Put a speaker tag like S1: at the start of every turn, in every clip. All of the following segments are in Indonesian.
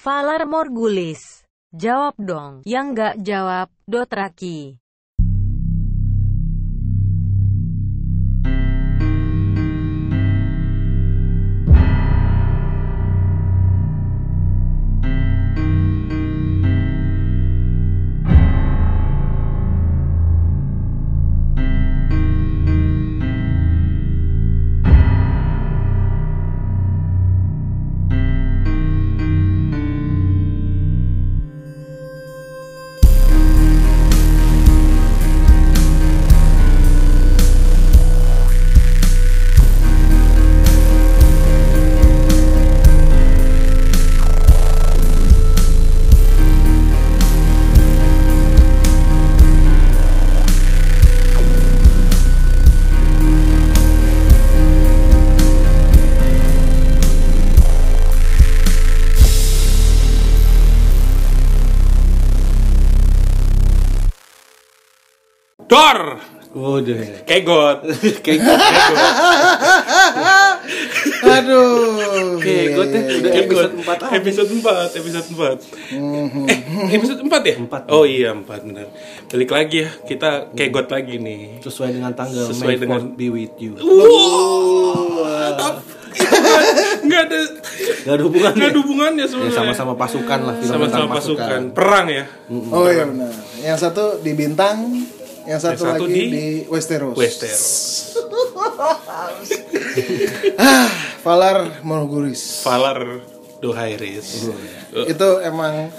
S1: Valar Morgulis. Jawab dong. Yang nggak jawab, Dotraki.
S2: Dor!
S3: Waduh.
S2: Kegot!
S3: Kayak
S4: Aduh.
S2: Iya,
S3: gue teh udah Iya, episode 4 aja.
S2: ya. Episode 4, episode 4. Eh, episode 4 ya?
S3: Empat.
S2: Oh iya, 4 benar. Balik lagi ya, kita kegot lagi nih.
S3: Sesuai dengan tanggal
S2: Sesuai
S3: Sesuai
S2: dengan-
S3: dengan be with you.
S2: Wow! Tapi itu nggak- nggak ada
S3: Gak ada hubungannya.
S2: nggak ada hubungannya
S3: Ya,
S2: sebenarnya.
S3: sama-sama pasukan lah film
S2: Sama-sama
S3: tentang
S2: pasukan. Perang ya.
S4: Oh iya benar. Yang satu di Bintang, yang satu,
S2: satu
S4: lagi
S2: di
S4: di, Westeros.
S2: Westeros.
S4: Ah, Valar Morgulis.
S2: Valar Dohairis. Eh.
S4: Itu emang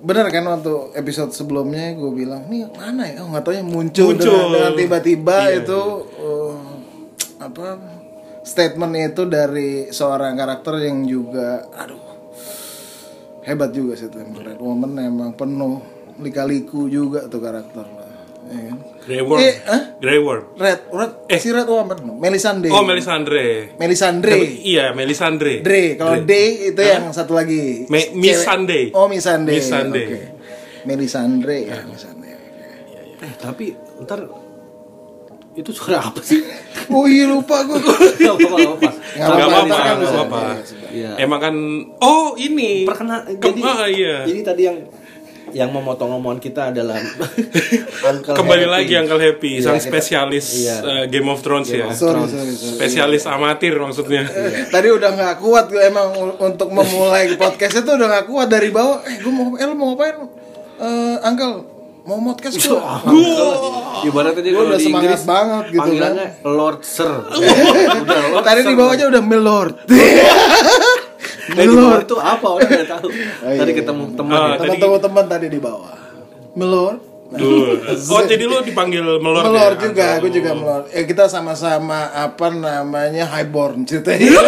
S4: benar kan waktu episode sebelumnya gue bilang nih mana ya oh nggak taunya
S2: Muncul.
S4: muncul, dengan, dengan tiba-tiba
S2: Iya.
S4: itu eh, apa statement itu dari seorang karakter yang juga aduh hebat juga sih tuh
S2: Iya.
S4: emang. Red Woman emang penuh lika-liku juga tuh karakter lah ya kan?
S2: Grey Worm.
S4: Eh, hah?
S2: Grey Worm.
S4: Red, Red,
S2: Eh.
S4: si Red Woman, Melisandre.
S2: Oh, Melisandre.
S4: Melisandre.
S2: Iya, Melisandre.
S4: Eh. Dre, kalau D itu yang satu lagi.
S2: Me-
S4: Cewek.
S2: Missandei.
S4: Oh, Missandei.
S2: Missandei.
S4: Oke. Melisandre ya, Missandei.
S3: Eh, tapi ntar itu suara apa sih?
S4: Oh iya lupa
S3: Gak
S4: gue.
S3: apa-apa.
S4: Nggak
S2: Gak
S4: apa-apa,
S2: apa-apa,
S4: kan
S2: gak
S4: bisa.
S2: apa-apa.
S3: Iya.
S2: Emang kan, oh ini.
S3: Perkena
S2: Kem-
S3: jadi
S2: ah, iya.
S3: Jadi tadi yang yang memotong omongan kita adalah Uncle
S2: Kembali
S3: Happy.
S2: lagi Uncle Happy,
S3: Iya,
S2: sang
S3: kita-
S2: spesialis
S3: Iya.
S2: eh, Game of Thrones ya.
S4: Sorry, sorry, sorry.
S2: Spesialis amatir maksudnya.
S3: Iya.
S4: Tadi udah nggak kuat gue emang u- untuk memulai podcast itu udah nggak kuat dari bawah. Eh, gue mau, eh lu mau ngapain? Eh, Uncle, mau podcast gue.
S3: Ibaratnya dia
S4: Gua
S3: kalau
S4: udah
S3: di
S4: semangat
S3: Inggris
S4: banget gitu
S3: panggilannya Lord Sir. udah Lord
S4: Tadi
S3: Sir.
S4: di bawah aja udah Milord.
S3: Nah, di bawah itu apa orang nggak tahu.
S4: iya,
S3: Tadi ketemu teman
S2: Ah,
S3: ya.
S2: tadi-
S4: Teman-teman tadi di bawah. Milord.
S2: Duh. Oh jadi lu dipanggil melor. ya,
S4: melor
S2: Uncle?
S4: juga, aku juga melor. Eh kita sama-sama apa namanya highborn ceritanya.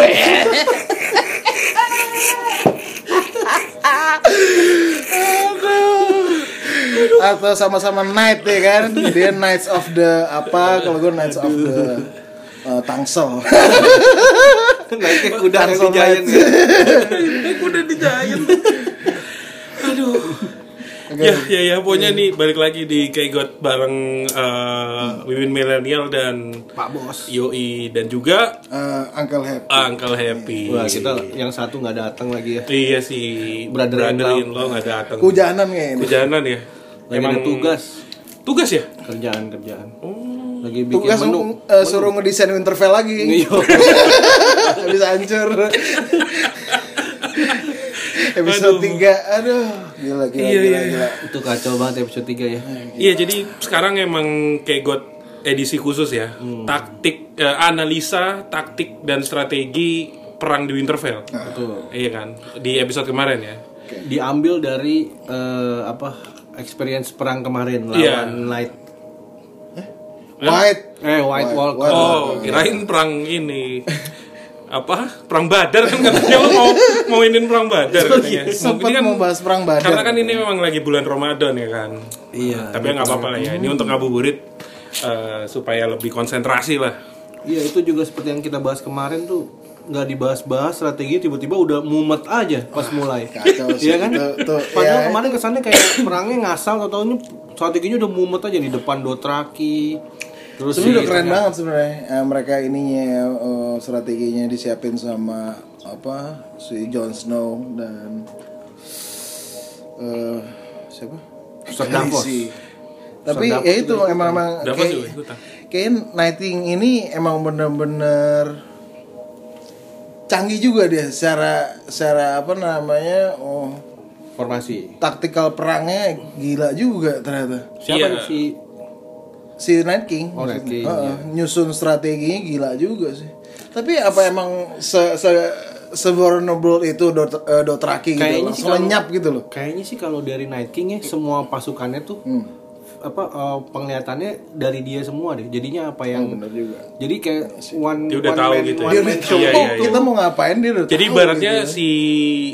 S4: Aduh. Atau sama-sama knight ya kan? Dia knights of the apa? Kalau gue knights of the uh, tangsel.
S3: Kan Naiknya kuda yang di
S4: Tangsel
S3: Giant
S4: Knights.
S3: ya.
S2: Aku udah di Giant. Aduh.
S4: Oke.
S2: Ya, ya, ya, pokoknya nih balik lagi di Kegot bareng eh, Wiwin Milenial dan
S3: Pak Bos.
S2: Yoi dan juga
S4: Uh, Uncle Hap.
S2: Uncle Happy.
S3: Wah, kita yang satu nggak datang lagi ya.
S2: Iya sih,
S3: Brother-in-law.
S2: brother-in-law nggak datang.
S4: Hujanan kayaknya.
S2: Hujanan ya.
S3: Lagi Emang ada tugas,
S2: Tugas ya?
S3: kerjaan-kerjaan.
S2: Iya,
S3: Lagi bikin
S4: Tugas
S3: menu.
S4: uh, suruh ngedesain Winterfell lagi.
S3: Iya.
S4: Habis hancur. Episode 3. Aduh, gila gila
S2: Iya,
S4: gila.
S2: iya,
S4: gila.
S3: itu kacau banget episode 3 ya.
S2: Iya, jadi sekarang emang Kegot edisi khusus ya. Taktik eh, analisa, taktik dan strategi perang di Winterfell.
S3: Betul.
S2: Iya kan? Di episode kemarin ya.
S3: Diambil dari eh, apa? Experience perang kemarin lawan
S2: Iya.
S3: Night
S4: White.
S3: eh White
S4: White-
S3: Walker.
S4: White-
S2: Oh, kirain perang ini. Apa? Perang Badar kan katanya lo mau mau inin perang Badar katanya.
S4: Sempat
S2: Ini kan-
S4: mau bahas perang badar.
S2: Karena kan ini memang lagi bulan Ramadan ya kan.
S3: Iya.
S2: Tapi nggak apa-apa lah ya. Ini untuk ngabuburit eh, supaya lebih konsentrasi lah.
S3: Iya itu juga seperti yang kita bahas kemarin tuh nggak dibahas-bahas strategi tiba-tiba udah mumet aja pas mulai.
S4: kacau sih,
S3: Iya kan?
S4: itu- itu,
S3: Padahal
S4: iya.
S3: kemarin kesannya kayak perangnya ngasal atau tahunya strateginya udah mumet aja di depan Dotraki. Terus di
S4: Sebenarnya udah keren
S3: tengah-
S4: banget sebenarnya eh, mereka ininya eh, strateginya disiapin sama apa si Jon Snow dan eh siapa?
S3: Sir Davos.
S4: Khaleesi. Tapi
S3: Sir Davos
S4: ya itu emang emang
S2: Davos juga
S4: kayak,
S2: ikutan.
S4: kayak Nighting ini emang bener-bener canggih juga dia secara secara apa namanya oh
S3: formasi
S4: taktikal perangnya gila juga ternyata
S2: Iya.
S3: siapa si
S4: si Night King,
S3: Oh, Night King,
S4: maksudnya. Heeh,
S3: iya.
S4: nyusun strateginya gila juga sih. Tapi apa emang se se sebornable itu dot eh, Dothraki gitu
S3: Kayaknya sih
S4: langsung
S3: kalau-
S4: lenyap gitu loh.
S3: kayaknya sih kalau dari Night King ya semua pasukannya tuh
S4: Hmm.
S3: apa eh, penglihatannya dari dia semua deh jadinya apa yang
S4: Oh, Bener juga. Iya
S3: jadi kayak one
S2: Dia udah
S3: one
S2: tahu
S3: man-
S2: gitu ya.
S3: one
S4: Dia
S3: man
S4: udah
S3: show.
S4: tahu
S2: Iya, iya, iya.
S4: kita mau ngapain dia udah
S2: Jadi
S4: tahu
S2: ibaratnya
S4: gitu.
S2: si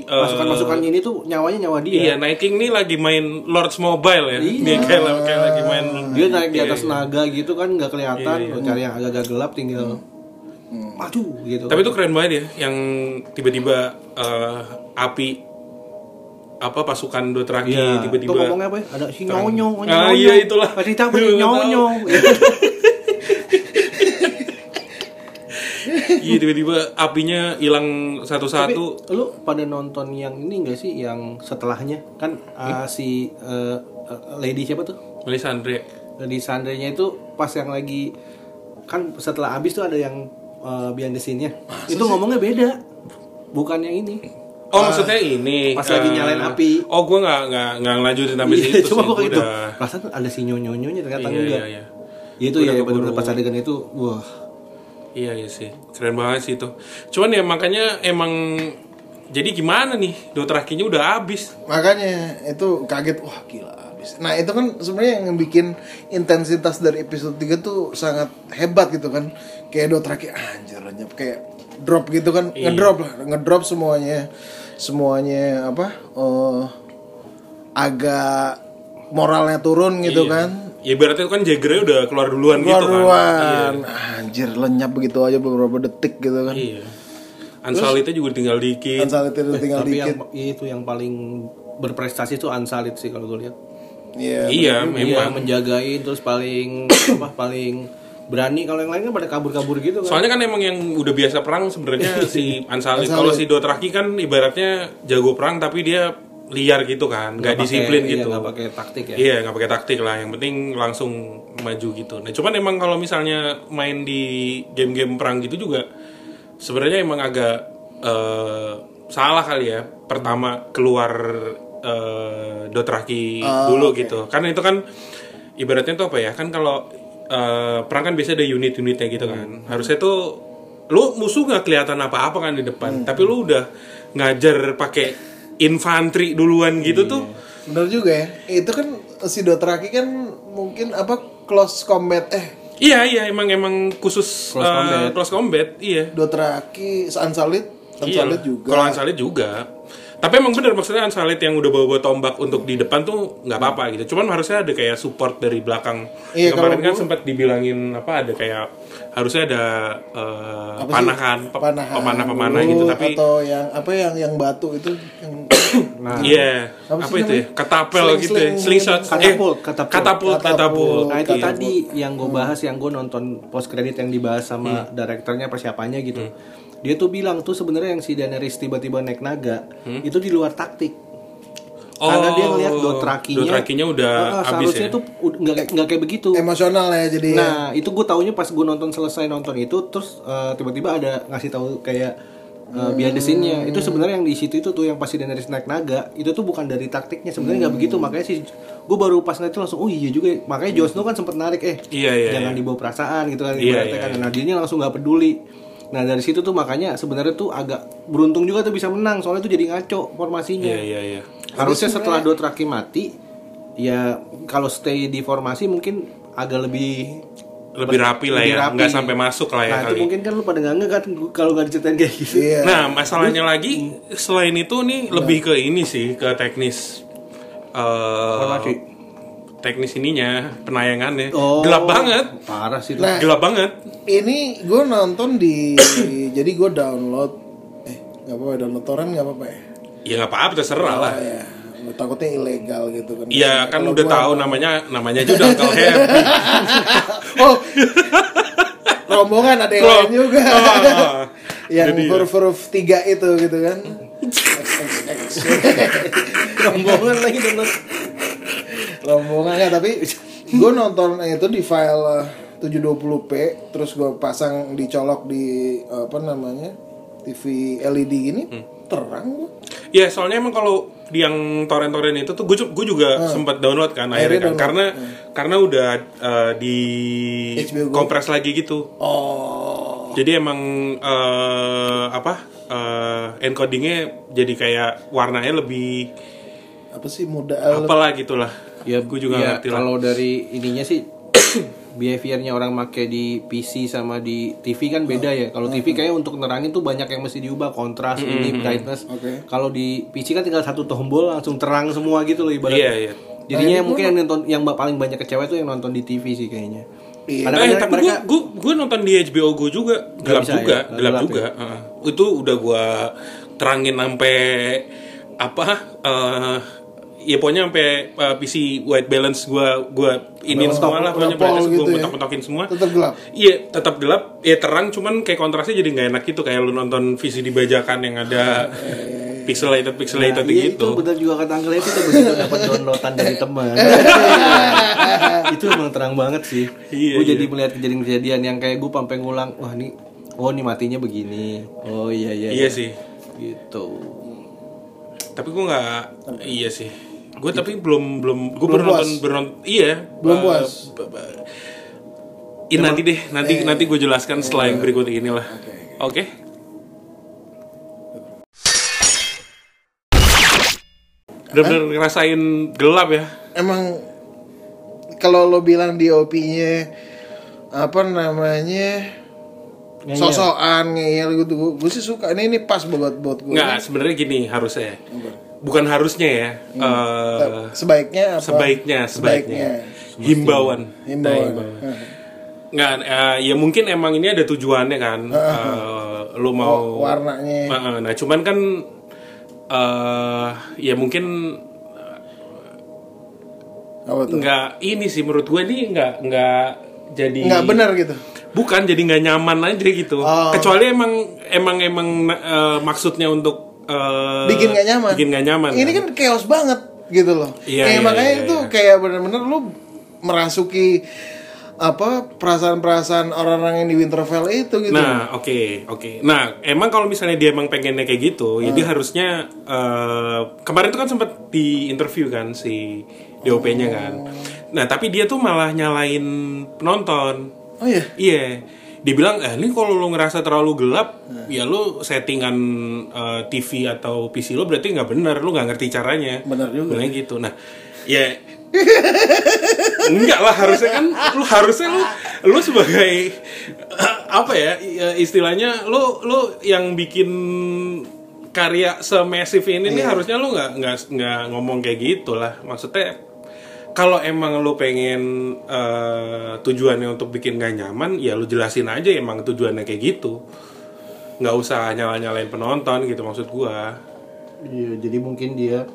S2: eh,
S3: pasukan-pasukan ini tuh nyawanya nyawa dia
S2: Iya, Night King ini lagi main Lords Mobile ya. Dia kayak, kayak lagi main
S3: Iya. dia naik di atas naga gitu kan nggak kelihatan
S2: Iya,
S3: Lu cari yang agak-agak gelap tinggal
S2: Hmm.
S3: maju gitu
S2: Tapi itu keren banget ya, yang tiba-tiba eh, api apa pasukan Dothraki
S3: Iya. Tuh
S2: tiba-tiba.
S3: ngomongnya apa ya? Ada si nyonyong, nyonyong.
S2: Ah, iya, itulah.
S3: Pasti tahu
S2: Iya, tahu.
S3: nyonyong.
S2: Iya tiba-tiba apinya hilang
S3: Tapi
S2: satu-satu.
S3: lu pada nonton yang ini enggak sih yang setelahnya kan ah, si eh, eh, lady siapa tuh?
S2: Melisandre.
S3: Lady Sandrenya itu pas yang lagi kan setelah habis tuh ada yang eh, behind the scene-nya. Itu ngomongnya beda. Bukan yang ini.
S2: Oh maksudnya ini
S3: Ah, pas lagi
S2: eh,
S3: nyalain api.
S2: Oh gue nggak nggak nggak ngelanjutin sampai
S3: Iya,
S2: situ sih.
S3: cuma kok
S2: gua
S3: itu.
S2: udah-
S3: Perasaan ada si nyonyongnya ternyata
S2: Iya,
S3: enggak.
S2: iya, iya.
S3: Itu
S2: Udah
S3: ya
S2: keburu.
S3: benar-benar pas adegan itu wah.
S2: Iya iya sih, keren banget sih itu. Cuman ya makanya emang jadi gimana nih Dothrakinya udah habis.
S4: makanya itu kaget wah gila abis. Nah, itu kan sebenarnya yang bikin intensitas dari episode 3 tuh sangat hebat gitu kan. Kayak Dothraki anjir lenyap kayak drop gitu kan, ngedrop lah, ngedrop semuanya. Semuanya apa? eh, agak moralnya turun gitu kan.
S2: Ya berarti kan Jagernya udah keluar duluan
S4: Keluar
S2: gitu kan.
S4: duluan. "Ah, Anjir lenyap begitu aja beberapa detik gitu kan.
S2: Iya. Ansalita juga tinggal dikit.
S4: Ansel itu tinggal
S3: Tapi
S4: dikit.
S3: yang itu yang paling berprestasi itu Ansalit sih kalau gue lihat.
S4: Iya.
S2: iya,
S3: Iya,
S2: memang.
S3: menjagain terus paling apa paling berani kalau yang lainnya pada kabur-kabur gitu kan.
S2: Soalnya kan emang yang udah biasa perang sebenarnya si Ansalit. Kalau si Dothraki kan ibaratnya jago perang tapi dia liar gitu kan, nggak
S3: Pakai-
S2: disiplin
S3: iya,
S2: gitu.
S3: nggak pakai taktik ya.
S2: Iya nggak pakai taktik lah, yang penting langsung maju gitu. Nah cuman emang kalau misalnya main di game-game perang gitu juga, sebenarnya emang agak eh, salah kali ya. Pertama keluar eh, Dothraki
S3: Oh,
S2: dulu gitu, karena itu kan ibaratnya tuh apa ya? Kan kalau eh, perang kan biasanya ada unit-unitnya gitu kan.
S3: Hmm.
S2: Harusnya tuh lu musuh nggak kelihatan apa-apa kan di
S3: Hmm.
S2: depan, tapi lu udah ngajar pakai infanteri duluan gitu
S3: Iya.
S2: tuh.
S4: Bener juga ya. Itu kan si Dothraki kan mungkin apa close combat eh
S2: Iya iya emang emang khusus
S3: Close
S2: eh,
S3: combat.
S2: close combat, iya.
S4: Dothraki Ansalit, Ansalit
S2: Iyalah.
S4: juga.
S2: Iya. Kalau Ansalit juga. Tapi emang bener maksudnya Ansalit yang udah bawa-bawa tombak untuk di depan tuh nggak apa-apa gitu. Cuman harusnya ada kayak support dari belakang.
S4: Iya,
S2: Kemarin
S4: kalau
S2: kan
S4: gua-
S2: sempat dibilangin apa ada kayak harusnya ada eh,
S4: Apa sih?
S2: panahan, pe-
S4: panahan,
S2: pemanah-pemanah
S4: dulu,
S2: gitu. Tapi
S4: atau yang apa yang yang batu itu yang
S3: Nah,
S2: iya
S4: Apa
S2: apa,
S4: sih
S2: itu ya? Ketapel
S4: Sling-
S2: gitu, ya?
S4: sling-
S2: slingshot,
S3: Katapult,
S2: eh,
S3: katapult.
S2: katapult, katapult.
S3: Nah itu
S2: Iya.
S3: tadi yang gue bahas, yang gue nonton post credit yang dibahas sama
S2: Hmm.
S3: direkturnya persiapannya gitu. Dia tuh bilang tuh sebenarnya yang si Daenerys tiba-tiba naik naga
S2: Hmm.
S3: itu di luar taktik. Karena dia ngeliat Dothrakinya,
S2: Oh, Dothrakinya udah
S3: Ah, ah,
S2: habis
S3: seharusnya
S2: ya?
S3: tuh ud- nggak kayak- nggak kayak begitu.
S4: emosional ya jadi ya.
S3: Nah, itu gue taunya pas gue nonton selesai nonton itu terus eh, tiba-tiba ada ngasih tahu kayak
S2: Hmm.
S3: eh, behind the scene-nya. Itu sebenarnya yang di situ itu tuh yang pas si Daenerys naik naga, itu tuh bukan dari taktiknya sebenarnya nggak
S2: Hmm.
S3: begitu. Makanya sih gue baru pas ngeliat itu langsung oh iya juga. ya." Makanya Jon Snow kan sempet narik eh
S2: Iya, iya,
S3: jangan
S2: iya.
S3: dibawa perasaan gitu kan.
S2: Iya,
S3: ibaratnya
S2: iya,
S3: kan. Nah, dianya langsung nggak peduli. Nah, dari situ tuh makanya sebenarnya tuh agak beruntung juga tuh bisa menang soalnya tuh jadi ngaco formasinya.
S2: Iya iya iya.
S3: Harusnya setelah Dothraki mati, ya kalau stay di formasi mungkin agak lebih
S2: lebih rapi lah
S3: Lebih
S2: ya,
S3: rapi.
S2: nggak sampai masuk lah ya
S3: Nah, itu
S2: kali.
S3: mungkin kan lu pada nggak nge kan gua- kalau nggak diceritain kayak gitu.
S4: Iya.
S2: Nah, masalahnya lagi selain itu nih lebih ke ini sih, ke teknis eh,
S3: Formasi.
S2: teknis ininya, penayangannya.
S3: Oh.
S2: Gelap banget.
S3: Parah sih. itu.
S4: Nah.
S2: Gelap banget.
S4: ini gue nonton di jadi gue download eh nggak apa-apa download torrent nggak apa-apa ya.
S2: Ya nggak apa-apa terserah lah.
S4: Oh, ya Gua takutnya ilegal gitu kan
S2: Iya, kan
S4: Kalau
S2: udah
S4: gua-
S2: tahu namanya namanya ya. aja udah Uncle Ham.
S4: oh rombongan ada yang lain juga
S2: Oh,
S4: yang
S2: Jadi ya.
S4: huruf-huruf tiga itu gitu kan
S3: rombongan lagi download
S4: rombongannya ya, tapi gue nonton itu di file eh, 720p terus gue pasang dicolok di eh, apa namanya TV LED E gini terang gua.
S2: Ya soalnya emang kalau di yang torrent-torrent itu tuh gue juga sempat download kan akhirnya kan.
S4: download,
S2: karena karena udah eh, di
S4: HBO Go.
S2: kompres lagi gitu. Oh. Jadi emang eh, apa eh, encodingnya jadi kayak warnanya lebih
S4: apa sih muda eh,
S2: apalah gitulah.
S3: ya
S2: gue juga
S3: ya,
S2: ngerti lah.
S3: kalau dari ininya sih behaviornya orang make di PC sama di TV kan beda ya kalau TV kayaknya untuk nerangin tuh banyak yang mesti diubah kontras ini brightness
S4: Oke.
S3: kalau di PC kan tinggal satu tombol langsung terang semua gitu loh ibaratnya
S2: Iya, iya.
S3: jadinya yang mungkin yang nonton yang ba- paling banyak kecewa tuh yang nonton di TV sih kayaknya
S2: Eh,
S3: kadang-kadang
S2: tapi gue
S3: mereka
S2: gue nonton di HBO Go juga gelap
S3: bisa ya?
S2: juga,
S3: Gelap
S2: gelap
S3: ya?
S2: juga. Heeh. Itu udah gua terangin sampai apa? eh ya pokoknya sampai eh, PC white balance gua gua ini semua lah pokoknya
S4: udah pol
S2: brightness
S4: gitu
S2: gua
S4: ya.
S2: mentok-mentokin semua.
S4: tetap gelap
S2: Iya, tetap gelap, ya terang cuman kayak kontrasnya jadi nggak enak gitu kayak lu nonton VCD bajakan yang ada pixelated pixelated
S3: Iya, itu
S2: gitu.
S3: benar juga kata Uncle Happy tuh begitu dapat downloadan dari teman. itu emang terang banget sih.
S2: Iya,
S3: gue
S2: iya.
S3: jadi melihat kejadian-kejadian yang kayak gue pampeng ngulang, wah nih, oh nih matinya begini. Oh iya iya.
S2: Iya sih.
S3: Gitu.
S2: Tapi gua nggak iya sih. Gue tapi belum belum gue baru nonton baru nont- iya eh,
S4: Belum puas.
S2: b- b- Ih, Ya, nanti deh,
S4: Eh,
S2: nanti nanti gue jelaskan setelah yang berikut inilah. Oke. Bener-bener ngerasain gelap ya.
S4: emang kalau lo bilang DOP-nya apa namanya sosokan ngeyel gitu gue, sih suka ini ini pas buat buat gue
S2: Nggak, sebenarnya gini harusnya. Bukan harusnya ya. eh,
S4: sebaiknya Hmm. apa
S2: sebaiknya, sebaiknya. Himbauan.
S4: Himbauan.
S2: Nggak, eh, ya mungkin emang ini ada tujuannya kan. Eh, lu mau
S4: Oh, warnanya.
S2: Eh, eh, nah, cuman kan eh ya mungkin
S4: apa tuh
S2: nggak ini sih menurut gue ini nggak nggak jadi
S4: nggak Oh. benar gitu
S2: Bukan jadi nggak nyaman aja gitu. Kecuali emang emang emang eh, maksudnya untuk eh,
S4: bikin nggak nyaman
S2: Bikin nggak nyaman.
S4: ini kan chaos banget gitu loh
S2: Iya,
S4: kayak
S2: iya,
S4: makanya
S2: iya,
S4: itu
S2: iya.
S4: kayak bener-bener lu merasuki apa perasaan-perasaan orang-orang yang di Winterfell itu gitu
S2: Nah, oke, oke. Nah, emang kalau misalnya dia emang pengennya kayak gitu, jadi
S4: Hmm.
S2: harusnya eh, kemarin tuh kan sempat di interview kan si DOP-nya kan.
S4: Oh.
S2: Nah, tapi dia tuh malah nyalain penonton.
S4: oh iya
S2: Iya. Dia bilang, "Eh, ini kalau lu ngerasa terlalu gelap, ya lu settingan eh, TV atau PC lu berarti nggak bener, lu nggak ngerti caranya."
S4: Bener juga.
S2: Bilangnya gitu. Nah, ya Enggak lah harusnya kan lu harusnya lu lu sebagai apa ya i- istilahnya lu lu yang bikin karya semasif ini
S3: Iya.
S2: nih harusnya lu nggak nggak nggak ngomong kayak gitu lah maksudnya kalau emang lu pengen eh, tujuannya untuk bikin gak nyaman ya lu jelasin aja emang tujuannya kayak gitu nggak usah nyala nyalain penonton gitu maksud gua
S3: Iya, jadi mungkin dia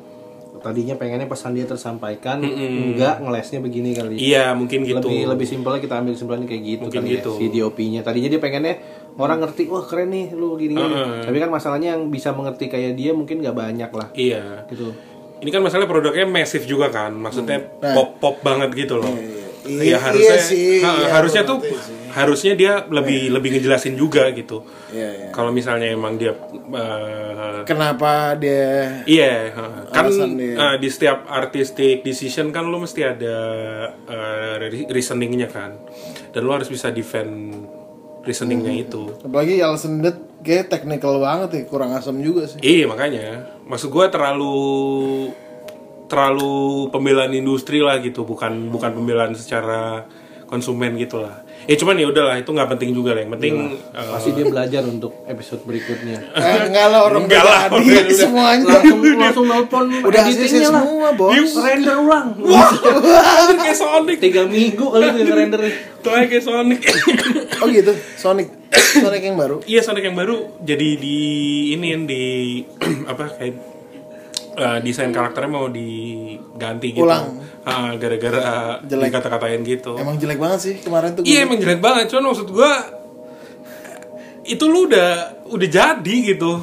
S3: tadinya pengennya pesan dia tersampaikan, enggak ngelesnya begini kali.
S2: iya mungkin gitu
S3: Lebih lebih simpelnya kita ambil simpelnya kayak gitu
S2: Mungkin
S3: kali
S2: gitu.
S3: ya. Si DOP-nya. Tadinya dia pengennya orang ngerti, wah keren nih lu gini. gini." Tapi kan masalahnya yang bisa mengerti kayak dia mungkin nggak banyak lah.
S2: iya
S3: Gitu.
S2: Ini kan masalah produknya masif juga kan, maksudnya pop pop banget gitu loh.
S4: Hmm. Nah. Iya,
S2: ya harusnya,
S4: iya sih,
S2: ha,
S4: iya,
S2: harusnya
S4: aku
S2: tuh harusnya dia lebih lebih ngejelasin juga gitu.
S4: Iya, iya.
S2: Kalau misalnya emang dia eh,
S4: kenapa dia
S2: Iya, ha. kan
S4: Alasan dia.
S2: eh, di setiap artistic decision kan lo mesti ada eh, re- reasoningnya kan, dan lo harus bisa defend reasoningnya
S4: Hmm.
S2: itu.
S4: apalagi yang sendet kayak technical banget ya kurang asam juga sih
S2: Iya makanya, maksud gua terlalu terlalu pembelaan industri lah gitu, bukan bukan pembelaan secara konsumen gitu lah. Ya cuman ya udahlah itu nggak penting juga lah, yang penting
S4: Iya.
S2: eh,
S3: Pasti dia belajar untuk episode berikutnya.
S4: eh, enggak lah orang
S2: Enggak lah,
S4: beda
S2: orang
S4: adik
S2: udah-
S4: semuanya
S3: Langsung langsung nelpon
S4: udah hasilnya
S3: editingnya lah.
S4: semua bos
S2: Yuk.
S3: Render ulang.
S2: anjir, kayak Sonic,
S3: Tiga minggu kali itu yang render.
S2: tuh kayak Sonic.
S4: oh gitu Sonic Sonic yang baru
S2: iya Sonic yang baru jadi di ini di apa kayak eh, desain karakternya mau diganti gitu,
S4: Ulang.
S2: Ah, gara-gara
S4: Jelek.
S2: dikata-katain gitu.
S4: emang jelek banget sih kemarin tuh
S2: Iya emang jelek banget, cuman maksud gua itu lu udah udah jadi gitu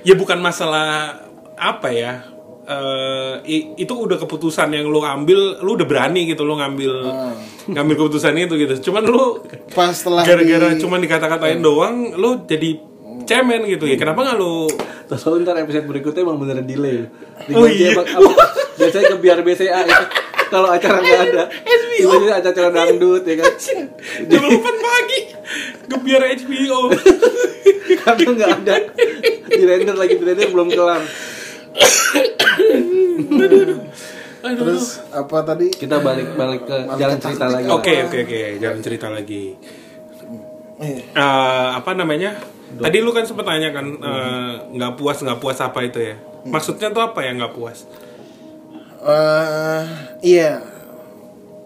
S2: ya bukan masalah apa ya eh, i- itu udah keputusan yang lu ambil lu udah berani gitu lu ngambil ngambil keputusan itu gitu cuman lu
S4: Hmm. pas setelah
S2: gara-gara
S4: di- Hmm.
S2: cuman dikata-katain doang lu jadi cemen gitu ya kenapa nggak lu
S3: Terus kalau ntar episode berikutnya emang beneran delay.
S2: Oh, iya.
S3: apa- apa- biasanya ke biar BCA ya. Kalau acara nggak ada, biasanya acara dangdut ya kan.
S2: jam 8 pagi gebiar HBO
S3: Karena nggak ada di render lagi di render belum kelar.
S4: terus apa tadi
S3: Kita balik balik ke jalan cerita lagi.
S4: Nah.
S3: lah.
S2: oke oke oke jangan cerita lagi
S4: Iya.
S2: Eh, apa namanya tadi lu kan sempat tanya kan eh, nggak puas nggak puas apa itu ya
S3: Hmm.
S2: maksudnya tuh apa ya nggak puas
S4: Eh, iya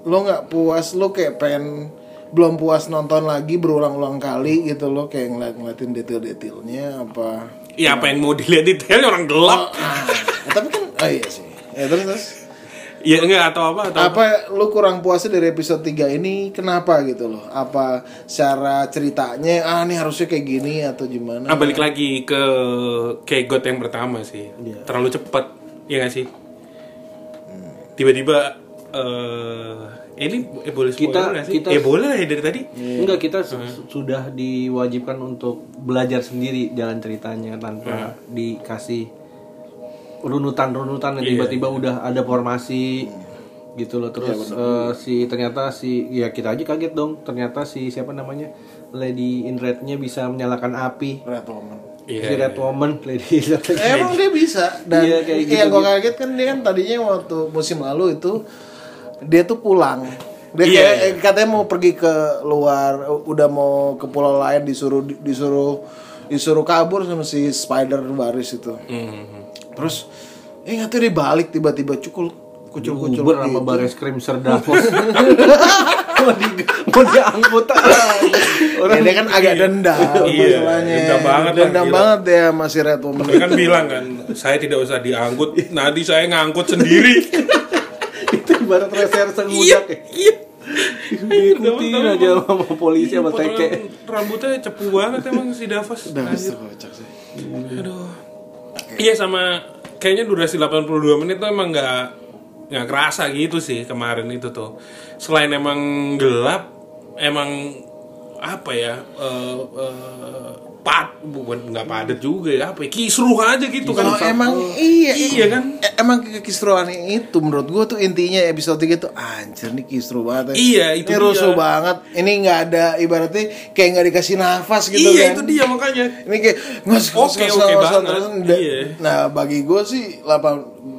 S4: lo nggak puas lo kayak pengen belum puas nonton lagi berulang-ulang kali gitu lo kayak ngeliat-ngeliatin detail-detailnya apa
S2: ya apa yang mau dilihat detailnya orang gelap
S3: Oh.
S4: Ah, tapi kan oh iya sih ya terus, terus
S2: ya enggak atau apa atau apa
S4: apa lu kurang puasnya dari episode 3 ini kenapa gitu loh apa secara ceritanya ah ini harusnya kayak gini atau
S3: Nah.
S4: gimana
S2: Ah, balik lagi ke kayak God yang pertama sih
S3: Iya.
S2: terlalu cepat ya nggak sih tiba-tiba eh ini eh, boleh
S3: Kita-
S2: spoiler nggak sih?
S3: kita-
S2: ya boleh lah ya dari tadi
S3: Enggak kita su-
S2: Hmm.
S3: sudah diwajibkan untuk belajar sendiri jalan ceritanya
S2: Hmm.
S3: tanpa dikasih runutan-runutan yang
S2: Iya.
S3: tiba-tiba udah ada formasi gitu loh terus eh, si ternyata si ya kita aja kaget dong ternyata si siapa namanya Lady in Red-nya bisa menyalakan api
S4: Red Woman.
S2: Iya.
S3: si Red Woman Lady in Red.
S4: Eh, emang dia bisa dan
S3: Iya, kayak
S4: yang gue kaget kan dia kan tadinya waktu musim lalu itu dia tuh pulang dia
S2: Iya,
S4: kayak- eh, katanya mau pergi ke luar u- udah mau ke pulau lain disuruh di- disuruh disuruh kabur sama si spider baris itu
S2: Mhm.
S4: terus eh nggak tahu dia balik tiba-tiba cukul kucul kucul
S3: Uber sama Baris Krim Serdapos mau di mau diangkut
S4: orang dia kan agak dendam
S2: gitu Iya,
S4: masalahnya.
S2: dendam banget lah,
S4: dendam
S2: gila.
S4: banget ya masih red woman
S2: Dia kan bilang kan saya tidak usah diangkut nanti saya ngangkut sendiri
S3: itu ibarat reserse
S2: Iya.
S3: ngudak ya diikutin
S2: Tahu-tahu
S3: aja
S2: emang-
S3: sama polisi sama
S2: Iya, Potong
S3: teke
S2: Rambutnya cepu banget emang si Davos.
S4: Pasti kocak sih.
S2: Aduh. Iya sama kayaknya durasi 82 menit tuh emang nggak nggak kerasa gitu sih kemarin itu tuh. Selain emang gelap, emang apa ya? eh eh, pad bukan nggak padat juga ya apa ya, kisruh aja gitu kan
S4: Kalau emang iya,
S2: Iya kan?
S4: e- emang kekisruan itu menurut gue tuh intinya episode 3 tuh anjir nih kisru banget. ya.
S2: Iya, itu
S4: Ini
S2: dia.
S4: rusuh banget. Ini nggak ada ibaratnya kayak nggak dikasih nafas gitu
S2: iya
S4: kan.
S2: itu dia makanya
S4: Ini kayak ngos ngos
S2: Oke,
S4: ngos
S2: oke
S4: ngos, ngos,
S2: banget.
S4: terus nda-
S2: Iya.
S4: Nah, bagi gue sih 8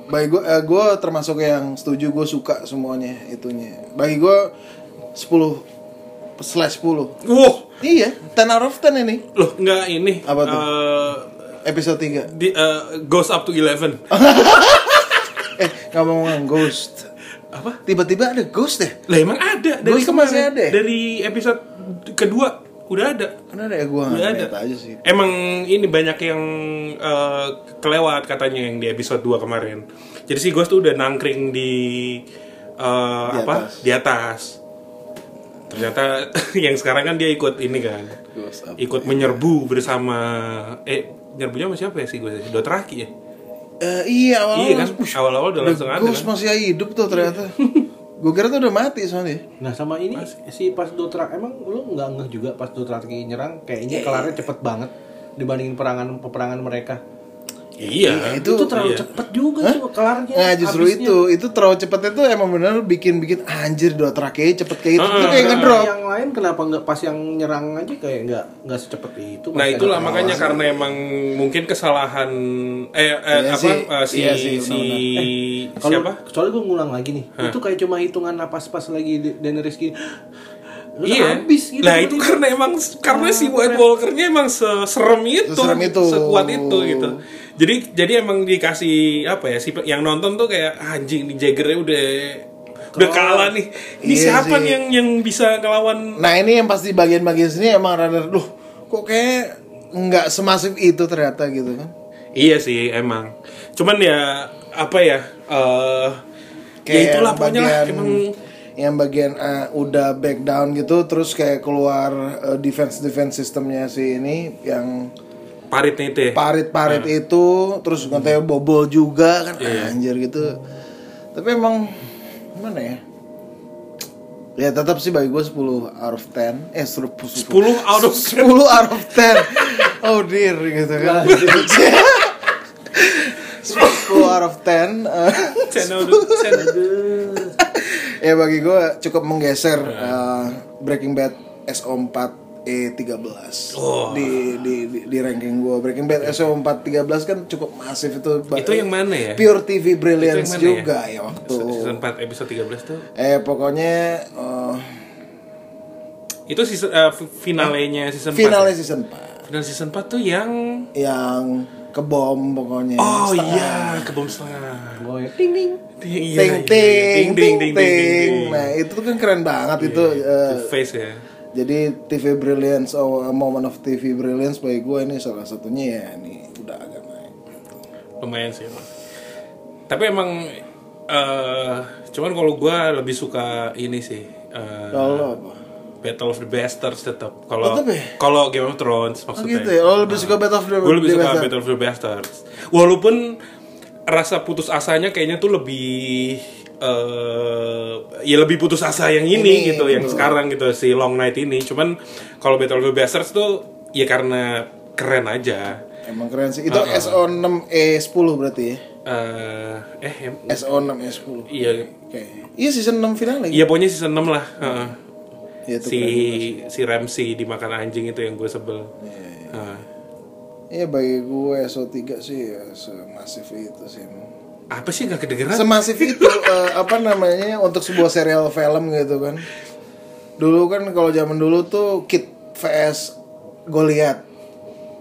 S4: bagi gue gue termasuk yang setuju gue suka semuanya itunya. Bagi gue 10 slash 10.
S2: Wah,
S4: Iya, 10 out of 10 ini
S2: loh nggak ini
S4: Apa tuh?
S2: eh,
S4: episode 3.
S2: di, eh, goes up to 11
S4: Eh, ngomong-ngomong ghost.
S2: apa
S4: Tiba-tiba ada ghost deh.
S2: Lah emang ada dari
S4: Ghost
S2: kemarin
S4: masih ada ya?
S2: dari episode kedua udah ada.
S4: Karena ada ya gue
S2: Udah
S4: nggak
S2: ada.
S4: lihat aja sih.
S2: Emang ini banyak yang eh, kelewat katanya yang di episode 2 kemarin. Jadi si Ghost tuh udah nangkring di eh,
S4: Di
S2: apa?
S4: atas.
S2: Di atas. Ternyata yang sekarang kan dia ikut ini kan.
S4: Ghost apa
S2: Ikut menyerbu bersama eh nyerbunya sama siapa ya si Ghost? Dothraki ya?
S4: Eh, iya awal
S2: Iya kan, awal-awal udah langsung ada
S4: Ghost
S2: kan. Iya.
S4: masih hidup tuh ternyata. gue kira tuh udah mati soalnya.
S3: nah sama ini si pas Dotra emang lu nggak ngeh juga pas Dotra nyerang kayaknya
S2: Eh.
S3: kelarnya cepet banget dibandingin perangan peperangan mereka
S2: Iya.
S4: itu-
S3: itu terlalu
S2: iya.
S3: cepet juga tuh kelarnya
S4: Nah justru
S3: habisnya.
S4: itu, itu terlalu cepetnya tuh emang bener bikin bikin anjir dua terakhir cepet kayak gitu. itu,
S2: Ah.
S4: itu kayak
S3: Nah,
S4: ngedrop.
S3: yang lain kenapa nggak pas yang nyerang aja kayak nggak nggak secepet itu
S2: Nah
S3: masih ada
S2: itulah
S3: kelar.
S2: makanya karena emang mungkin kesalahan eh, eh,
S4: Iya
S2: apa
S4: sih,
S2: eh, si
S4: iya sih, Eh,
S2: si
S3: Kalau
S2: siapa?
S3: soalnya gue ngulang lagi nih. Itu kayak cuma hitungan napas pas lagi D- Daenerys gini. Lu
S2: Iya.
S3: habis gitu.
S2: nah itu
S3: tiba-tiba.
S2: karena emang karena si White Walkernya emang seserem itu,
S4: Ah, Seserem itu.
S2: sekuat itu gitu. Jadi jadi emang dikasih apa ya si yang nonton tuh kayak "Ah, anjing di Jaggernya udah udah kalah nih. Ini
S4: Iya
S2: siapa
S4: sih.
S2: nih yang yang bisa ngelawan
S4: Nah ini yang pasti bagian-bagian sini emang rada, loh kok kayak nggak semasif itu ternyata gitu kan.
S2: Iya sih emang. Cuman ya apa ya? eh ya
S4: Kayak
S2: itulah pokoknya lah
S4: bagian
S2: emang
S4: yang bagian eh, udah back down gitu terus kayak keluar eh, defense defense sistemnya si ini yang
S2: Paritnya itu ya.
S4: parit-parit itu terus katanya
S2: Hmm.
S4: bobol juga kan
S2: Iya.
S4: anjir gitu tapi emang gimana ya ya tetap sih bagi gue 10 out of 10 eh 10
S2: 10
S4: 10
S2: out of 10.
S4: 10 out of 10 oh dear gitu kan 10 out of 10 eh,
S2: Channel du- channel du-
S4: ya bagi gue cukup menggeser
S2: Iya.
S4: eh, Breaking Bad SO4 E13 E
S2: Oh.
S4: di, di di di ranking gue Breaking Bad SO4 13 kan cukup masif itu
S2: Itu yang mana ya?
S4: Pure TV Brilliance
S2: Itu yang mana
S4: juga ya, waktu
S2: Season 4 episode 13 tuh.
S4: eh pokoknya eh,
S2: Itu season eh, fi- finalenya season ya? 4.
S4: finalnya season 4
S2: Final season 4 tuh yang
S4: yang kebom pokoknya
S2: Oh
S4: Setengah.
S2: iya, kebom setengah.
S3: Boy, ting ting.
S2: Iya,
S4: ting
S2: iya,
S4: ting ting
S2: ting, ting,
S4: ting
S2: ting.
S4: nah itu tuh kan keren banget
S2: Iya,
S4: itu eh,
S2: The face ya.
S4: Jadi TV Brilliance, oh, a moment of TV Brilliance bagi gue ini salah satunya ya ini udah agak naik.
S2: lumayan sih emang. tapi emang eh cuman kalau gua lebih suka ini sih eh,
S4: Kalau lo apa?
S2: Battle of the Bastards tetap kalau
S4: Tetep ya?
S2: kalau Game of Thrones
S4: Oh
S2: maksudnya
S4: gitu ya, lo lebih suka Battle of the
S2: gue lebih
S4: the
S2: suka
S4: Bastard?
S2: Battle of the Bastards walaupun rasa putus asanya kayaknya tuh lebih eh ya lebih putus asa yang ini,
S4: Ini,
S2: gitu yang sekarang gitu si Long Night ini cuman kalau Battle of the Bastards tuh ya karena keren aja
S4: Emang keren sih. Itu SO6E10 berarti ya.
S2: Eh, eh em-
S4: SO6E10.
S2: iya
S4: E Oke. Iya season 6 final lagi.
S2: Iya pokoknya season 6 lah. Heeh.
S4: Iya, itu
S2: si si Ramsey dimakan anjing itu yang gue sebel. Eh, Heeh.
S4: Iya bagi gue SO3 sih ya, semasif itu sih.
S2: Apa sih nggak kedengeran?
S4: Semasif itu eh, apa namanya untuk sebuah serial film gitu kan. Dulu kan kalau zaman dulu tuh Kid vs Goliath.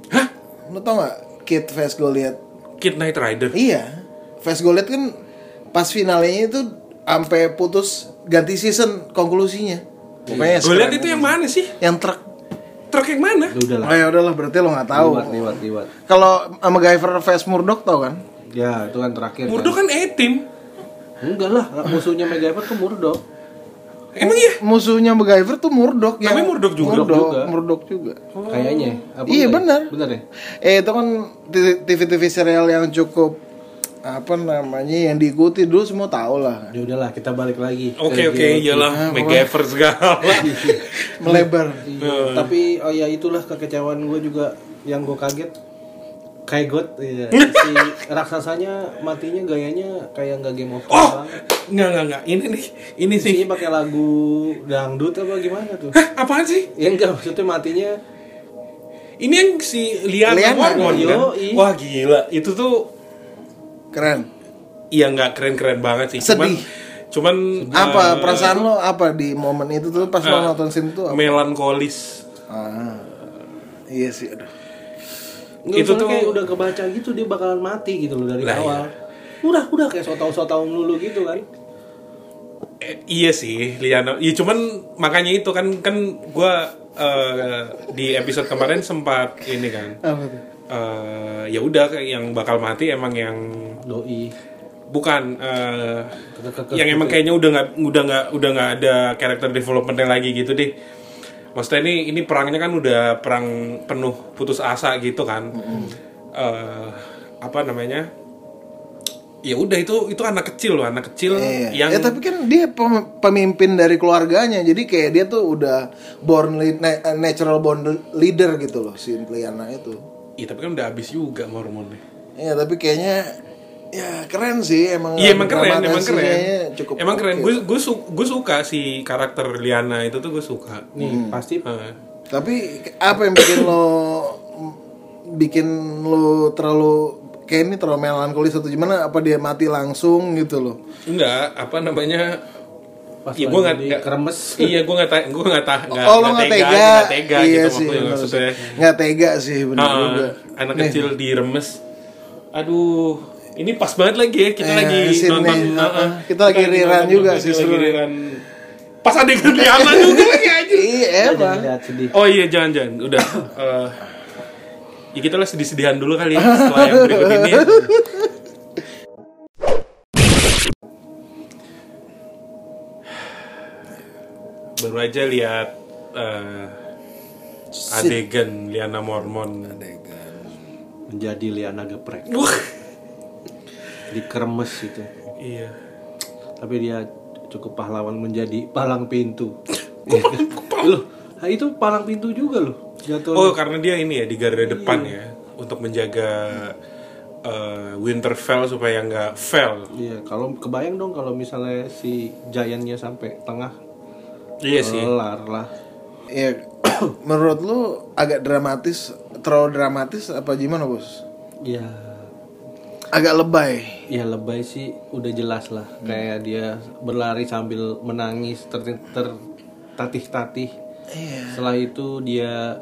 S2: Hah?
S4: Lu tau gak Kid vs Goliath?
S2: Kid Night Rider.
S4: Iya. Vs Goliath kan pas finalnya itu sampai putus ganti season konklusinya. Pokoknya
S2: Gue lihat
S4: sekeren
S2: Iya. itu yang mana sih?
S4: yang truk.
S2: Truk yang mana?
S3: Ya udahlah.
S4: Oh ya udahlah berarti lo nggak tahu.
S3: Liwat, liwat, liwat.
S4: Kalau eh, MacGyver vs Murdoch tau kan?
S3: Ya, itu kan terakhir.
S2: Murdoch kan Etim.
S3: Kan? Enggak lah, musuhnya Megapod tuh Murdoch.
S2: Emang iya?
S4: Musuhnya MacGyver tuh Murdoch ya.
S2: Namanya Murdoch juga?
S4: Murdoch
S3: juga.
S4: juga. Murdoch juga.
S3: Kayaknya. Apa
S4: Iya,
S3: enggak
S4: benar.
S3: ya? Benar ya?
S4: Eh itu kan TV-TV serial yang cukup apa namanya yang diikuti dulu semua tahu lah
S3: Ya udahlah, kita balik lagi.
S4: Iya,
S2: Oke oke iya. iyalah MacGyver segala.
S4: melebar
S3: Iya, tapi oh ya itulah kekecewaan gue juga yang gue kaget kayak God iya. si raksasanya matinya gayanya kayak nggak game of
S2: oh
S3: Thrones banget.
S2: nggak nggak nggak ini nih ini sih.
S3: isinya pakai lagu dangdut apa gimana tuh
S2: Hah apaan sih?
S3: ya enggak maksudnya matinya
S2: Ini yang si Liana,
S4: Liana,
S2: Mormon kan?
S3: yoi.
S2: Wah gila itu tuh
S4: keren
S2: Iya nggak keren-keren banget sih. Cuman,
S4: Sedih.
S2: Cuman eh,
S4: apa perasaan lo apa di momen itu tuh pas lo
S2: eh,
S4: nonton scene itu apa?
S2: melankolis.
S4: Ah, iya sih aduh
S3: enggak,
S2: Itu
S3: itu
S2: tuh-
S3: kayak udah kebaca gitu dia bakalan mati gitu loh dari
S2: Lah, iya.
S3: awal udah udah kayak sotau sotau melulu gitu kan
S2: Eh, iya sih, Liana. Iya cuman makanya itu kan kan gua eh, di episode kemarin sempat ini kan.
S4: apa tuh
S2: eh, ya udah kayak yang bakal mati emang yang
S3: doi
S2: bukan eh,
S3: Kekekek
S2: yang emang kayaknya udah nggak udah nggak udah nggak ada karakter developmentnya lagi gitu deh. Maksudnya ini ini perangnya kan udah perang penuh putus asa gitu kan. Eh, apa namanya? Ya udah itu itu anak kecil loh, anak kecil
S4: Iya.
S2: yang
S4: ya tapi kan dia pem- pemimpin dari keluarganya jadi kayak dia tuh udah born lead- na- natural born leader gitu loh si Liana itu
S2: Iya tapi kan udah habis juga mormonnya.
S4: Iya tapi kayaknya ya keren sih emang
S2: Iya emang keren, emang
S4: dramatisasinya
S2: keren.
S4: cukup
S2: emang keren.
S4: oke.
S2: Gue gue su- gue suka si karakter Liana itu tuh gue suka. Eh,
S3: nih
S4: Hmm.
S3: pasti
S2: Heeh.
S4: tapi apa yang bikin lo bikin lo terlalu kayak ini terlalu melankolis atau gimana apa dia mati langsung gitu loh
S2: enggak apa namanya?
S3: pas
S2: Iya
S3: lagi
S2: gue nggak
S3: di
S2: nggak-
S3: kremes
S2: Iya gue nggak ta- gue nggak ta- nggak
S4: oh lo nggak tega,
S2: nggak tega
S4: iya
S2: gitu
S4: sih
S2: maksudnya.
S4: benar sih.
S2: maksudnya.
S4: nggak tega sih benar
S2: Ah,
S4: juga
S2: anak kecil diremes. Aduh, ini pas banget lagi ya kita
S4: Eh,
S2: lagi
S4: sini,
S2: nonton.
S4: ah,
S2: ah, ah.
S4: kita lagi riran
S2: nonton,
S4: juga
S2: kita
S4: sih,
S2: lagi
S4: seru.
S2: riran. Pas adegan Liana juga ya, lagi aja.
S4: iya
S3: jangan
S4: emang
S3: lihat sedih
S2: Oh iya jangan jangan udah. Eh, ya kita lah sedih-sedihan dulu kali ya setelah yang berikut ini. ya. baru aja lihat eh, adegan Liana Mormon
S3: menjadi Liana geprek
S2: Wah,
S3: di kremes itu
S2: iya
S3: tapi dia cukup pahlawan menjadi palang pintu Iya kan? loh nah, itu palang pintu juga loh jatuh
S2: oh karena dia ini ya di garda depan ya untuk menjaga eh, Winterfell supaya nggak fell
S3: iya kalau kebayang dong kalau misalnya si Giant-nya sampai tengah
S2: iya sih
S3: kelar lah
S4: Iya, menurut lu agak dramatis, terlalu dramatis apa gimana bos?
S3: ya
S4: Agak lebay.
S3: ya lebay sih udah jelas lah kayak dia berlari sambil menangis ter- tertatih-tatih setelah itu dia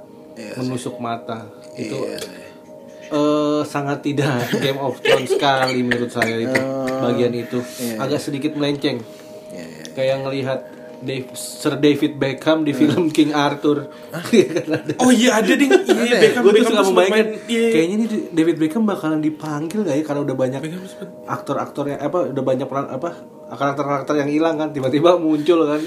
S3: menusuk mata itu eh, sangat tidak Game of Thrones sekali menurut saya itu bagian itu agak sedikit melenceng kayak ngelihat Dave- Sir David Beckham di film King Arthur Iya kan ada
S2: oh iya ada ding iya Beckham
S3: gue Eh, tuh
S2: Beckham
S3: suka
S2: sempat
S3: membayangkan
S2: main- iya, iya.
S3: kayaknya ini David Beckham bakalan dipanggil gak ya karena udah banyak aktor-aktor yang apa udah banyak peran apa karakter-karakter yang hilang kan tiba-tiba muncul kan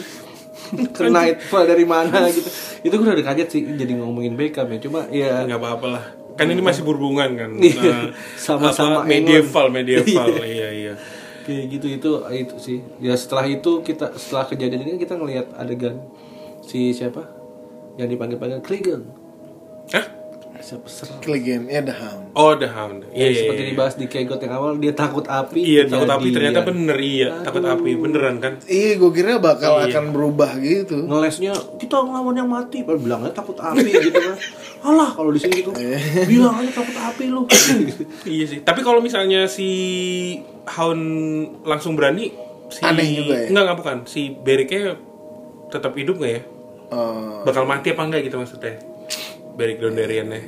S3: kena itu dari mana gitu itu gue udah kaget sih jadi ngomongin Beckham ya cuma ya
S2: nggak apa-apa lah kan ini masih berhubungan kan Eh,
S3: Iya.
S2: apa,
S3: Sama-sama kan.
S2: medieval
S3: England.
S2: medieval iya iya
S3: kayak gitu itu itu sih ya setelah itu kita setelah kejadian ini kita ngelihat adegan si siapa yang dipanggil-panggil Clegane
S2: Hah?
S3: siapa serang
S4: Clegane, ya The Hound.
S2: oh the hound iya iya
S3: seperti dibahas di Kegot yang awal dia takut api
S2: iya takut api
S3: kejadian.
S2: ternyata bener iya takut api beneran kan
S4: Iya, gue kira bakal akan berubah gitu.
S3: ngelesnya kita ngelawan yang mati Padahal bilangnya takut api gitu kan alah kalau di sini gitu bilang aja takut api lu
S2: Iya sih. Tapi kalau misalnya si Haun langsung berani, si
S4: Aneh juga ya?
S2: Enggak, enggak bukan. Si Beriknya tetap hidup nggak ya?
S4: Eh,
S2: Bakal mati apa enggak gitu maksudnya? Berik Dondarrionnya.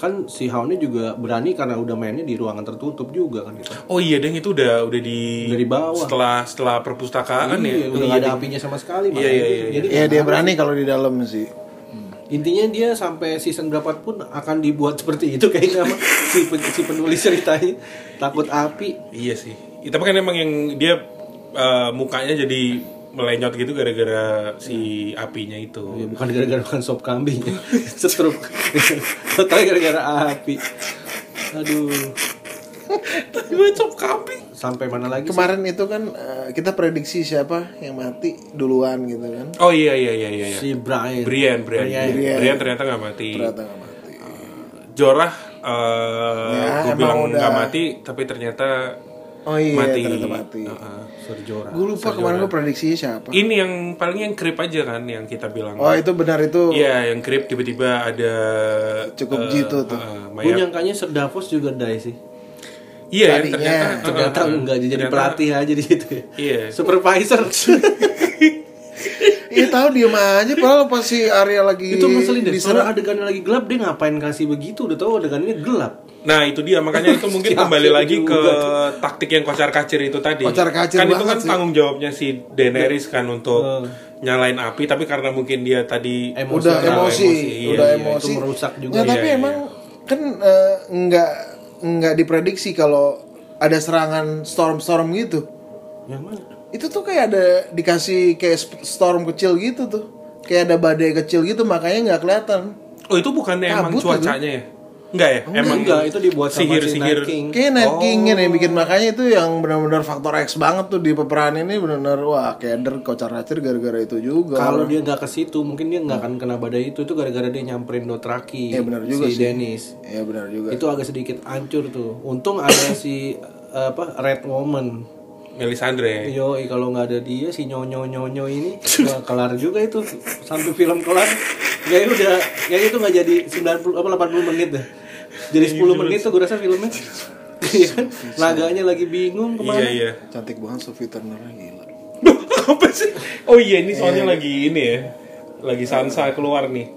S3: kan si Houndnya juga berani karena udah mainnya di ruangan tertutup juga kan gitu
S2: Oh iya, deng itu udah udah di
S3: Dari bawah.
S2: Setelah setelah perpustakaan ya.
S3: Iya, udah
S2: Iya,
S3: nggak ada
S2: Deng.
S3: apinya sama sekali
S2: Iya,
S3: makanya
S2: iya,
S3: itu.
S2: iya,
S3: Jadi
S4: ya dia berani kalau di dalam sih.
S3: intinya dia sampai season berapa pun akan dibuat seperti itu kayaknya sama si, pen- si penulis ceritanya takut api
S2: Iya sih. Ya, tapi kan emang yang dia eh, mukanya jadi melenyot gitu gara-gara si apinya
S3: Ya,
S2: itu.
S3: bukan gara-gara makan sop kambing ya. Setrum. Totalnya ya gara-gara api. Aduh.
S2: Tapi macam kambing.
S3: Sampai mana lagi? sih?
S4: Kemarin itu kan eh, kita prediksi siapa yang mati duluan gitu kan.
S2: Oh iya iya iya iya.
S3: Si Brian.
S2: Brian, Brian, Brian, ternyata nggak mati.
S4: Iya, Ternyata nggak mati.
S2: Jorah eh
S4: Ya,
S2: gue
S4: emang
S2: bilang
S4: udah.
S2: nggak mati tapi ternyata
S4: Oh iya,
S2: mati. Eh,
S4: ternyata mati. kan.
S2: Heeh.
S3: Sir Jorah.
S4: Gue lupa kemarin gue prediksinya siapa.
S2: Ini yang paling yang krip aja kan yang kita bilang.
S4: Oh itu benar itu
S2: Iya, yang krip tiba-tiba ada
S4: cukup jitu tuh.
S2: eh,
S3: Gue
S2: mayat.
S3: nyangkanya Sir Davos juga die sih.
S2: Iya, ya,
S4: Tadinya.
S2: ternyata
S3: Ternyata
S2: heeh.
S3: enggak jadi
S2: Ternyata-
S3: pelatih aja di situ ya.
S2: Iya.
S3: Supervisor.
S4: Iya tahu diem aja, padahal pas si Arya lagi
S3: itu ngeselin deh. Soalnya
S4: diserang.
S3: adegannya lagi gelap dia ngapain kasih begitu? Udah tahu adegannya gelap.
S2: Nah itu dia makanya itu mungkin
S3: Si
S2: kembali
S3: Akhil
S2: lagi
S3: juga
S2: ke
S3: tuh.
S2: taktik yang kocar kacir itu tadi.
S4: Kocar-kacir
S2: kan itu
S4: banget
S2: kan
S4: sih.
S2: tanggung jawabnya si Daenerys kan untuk nyalain api, tapi karena mungkin dia tadi
S3: Emosi.
S4: udah
S2: Terlalu
S4: emosi,
S2: emosi,
S4: udah
S2: iya,
S3: iya,
S4: emosi.
S3: itu merusak juga.
S4: Ya, tapi
S2: Iya, iya.
S4: emang kan eh, nggak nggak diprediksi kalau ada serangan storm-storm gitu.
S3: Yang mana?
S4: Itu tuh kayak ada dikasih kayak sp- storm kecil gitu tuh. Kayak ada badai kecil gitu makanya nggak kelihatan.
S2: Oh itu bukannya emang
S4: Kabut
S2: cuacanya ya? Enggak ya? emang
S3: Enggak, itu dibuat sama si
S2: sihir-sihir.
S3: Night King.
S4: Kayak Night King-nya yang bikin makanya itu yang benar-benar faktor X banget tuh di peperangan ini benar-benar wah keder kocar kacir gara-gara itu juga.
S3: Kalau dia nggak ke situ, mungkin dia nggak akan kena badai itu. Itu gara-gara dia nyamperin Dothraki.
S4: Iya, benar juga
S3: si
S4: sih.
S3: Dennis.
S4: ya benar juga.
S3: Itu agak sedikit hancur tuh. Untung ada si eh, apa Red Woman.
S2: Melisandre.
S3: Yo, Eh, kalau nggak ada dia si nyonyo nyonyo ini nggak kelar juga itu sampai film kelar. Ya udah, ya itu nggak jadi 90 apa 80 menit deh. Jadi 10 menit tuh gue rasa filmnya. Iya kan? Naganya lagi
S2: Iya
S3: bingung kemana.
S2: iya.
S4: Cantik banget Sophie Turner gila.
S2: Duh, apa sih? Oh iya ini soalnya lagi ini ya. Lagi Sansa keluar nih.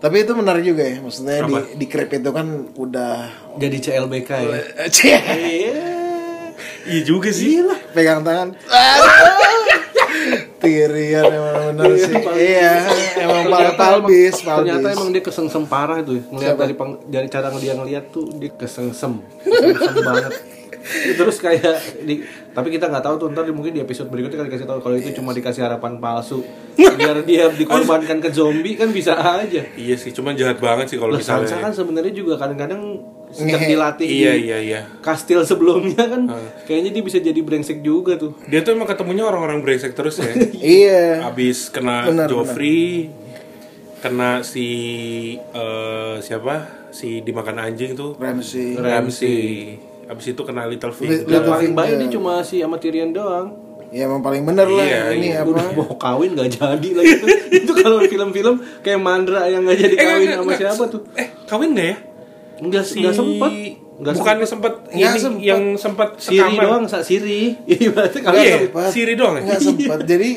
S4: Tapi itu menarik juga ya, maksudnya di di crib itu kan udah
S3: Jadi CLBK ya. Iya.
S2: Iya juga sih.
S4: pegang tangan. Aduh. Tirian emang bener sih. Iya, emang pal
S3: Ternyata
S4: palbis,
S3: emang- Ternyata
S4: palbis.
S3: emang dia kesengsem parah tuh. ya. Ngeliat dari peng- dari cara dia ngeliat tuh dia kesengsem. Kesengsem banget. terus kayak di, tapi kita nggak tahu tuh ntar mungkin di episode berikutnya kan dikasih tahu kalau itu cuma dikasih harapan palsu biar dia dikorbankan ke zombie kan bisa aja
S2: Iya sih, cuman jahat banget sih kalau
S3: Loh, Sansa
S2: misalnya. ya.
S3: kan sebenarnya juga kadang-kadang sejak
S4: Ngehe.
S3: dilatih di
S2: Iya, iya, iya.
S3: kastil sebelumnya kan kayaknya dia bisa jadi brengsek juga tuh
S2: Dia tuh emang ketemunya orang-orang brengsek terus ya.
S4: iya
S2: Abis kena
S4: Benar,
S2: Joffrey, kena si eh, siapa? Si dimakan anjing tuh.
S4: Ramsey
S2: Iya, Ramsey. Abis itu kena Littlefinger.
S3: yang
S4: Little
S3: paling baik
S4: Finger.
S3: dia cuma si sama Tyrion doang
S4: ya emang paling bener lah
S2: Iya,
S4: ini
S2: iya.
S4: apa
S3: udah mau kawin gak jadi lagi tuh itu kalau film-film kayak Mandra yang gak jadi
S2: Eh, enggak,
S3: kawin
S2: enggak,
S3: sama
S2: enggak.
S3: siapa tuh
S2: Eh, kawin nggak ya?
S3: nggak
S2: Si
S3: nggak sempet nggak
S2: bukan sempet,
S4: Nggak
S2: ini
S4: sempet.
S2: yang sempat
S3: Siri doang sak Siri iya berarti kalau
S2: Iya,
S4: sempet.
S2: Siri doang ya?
S4: nggak sempat jadi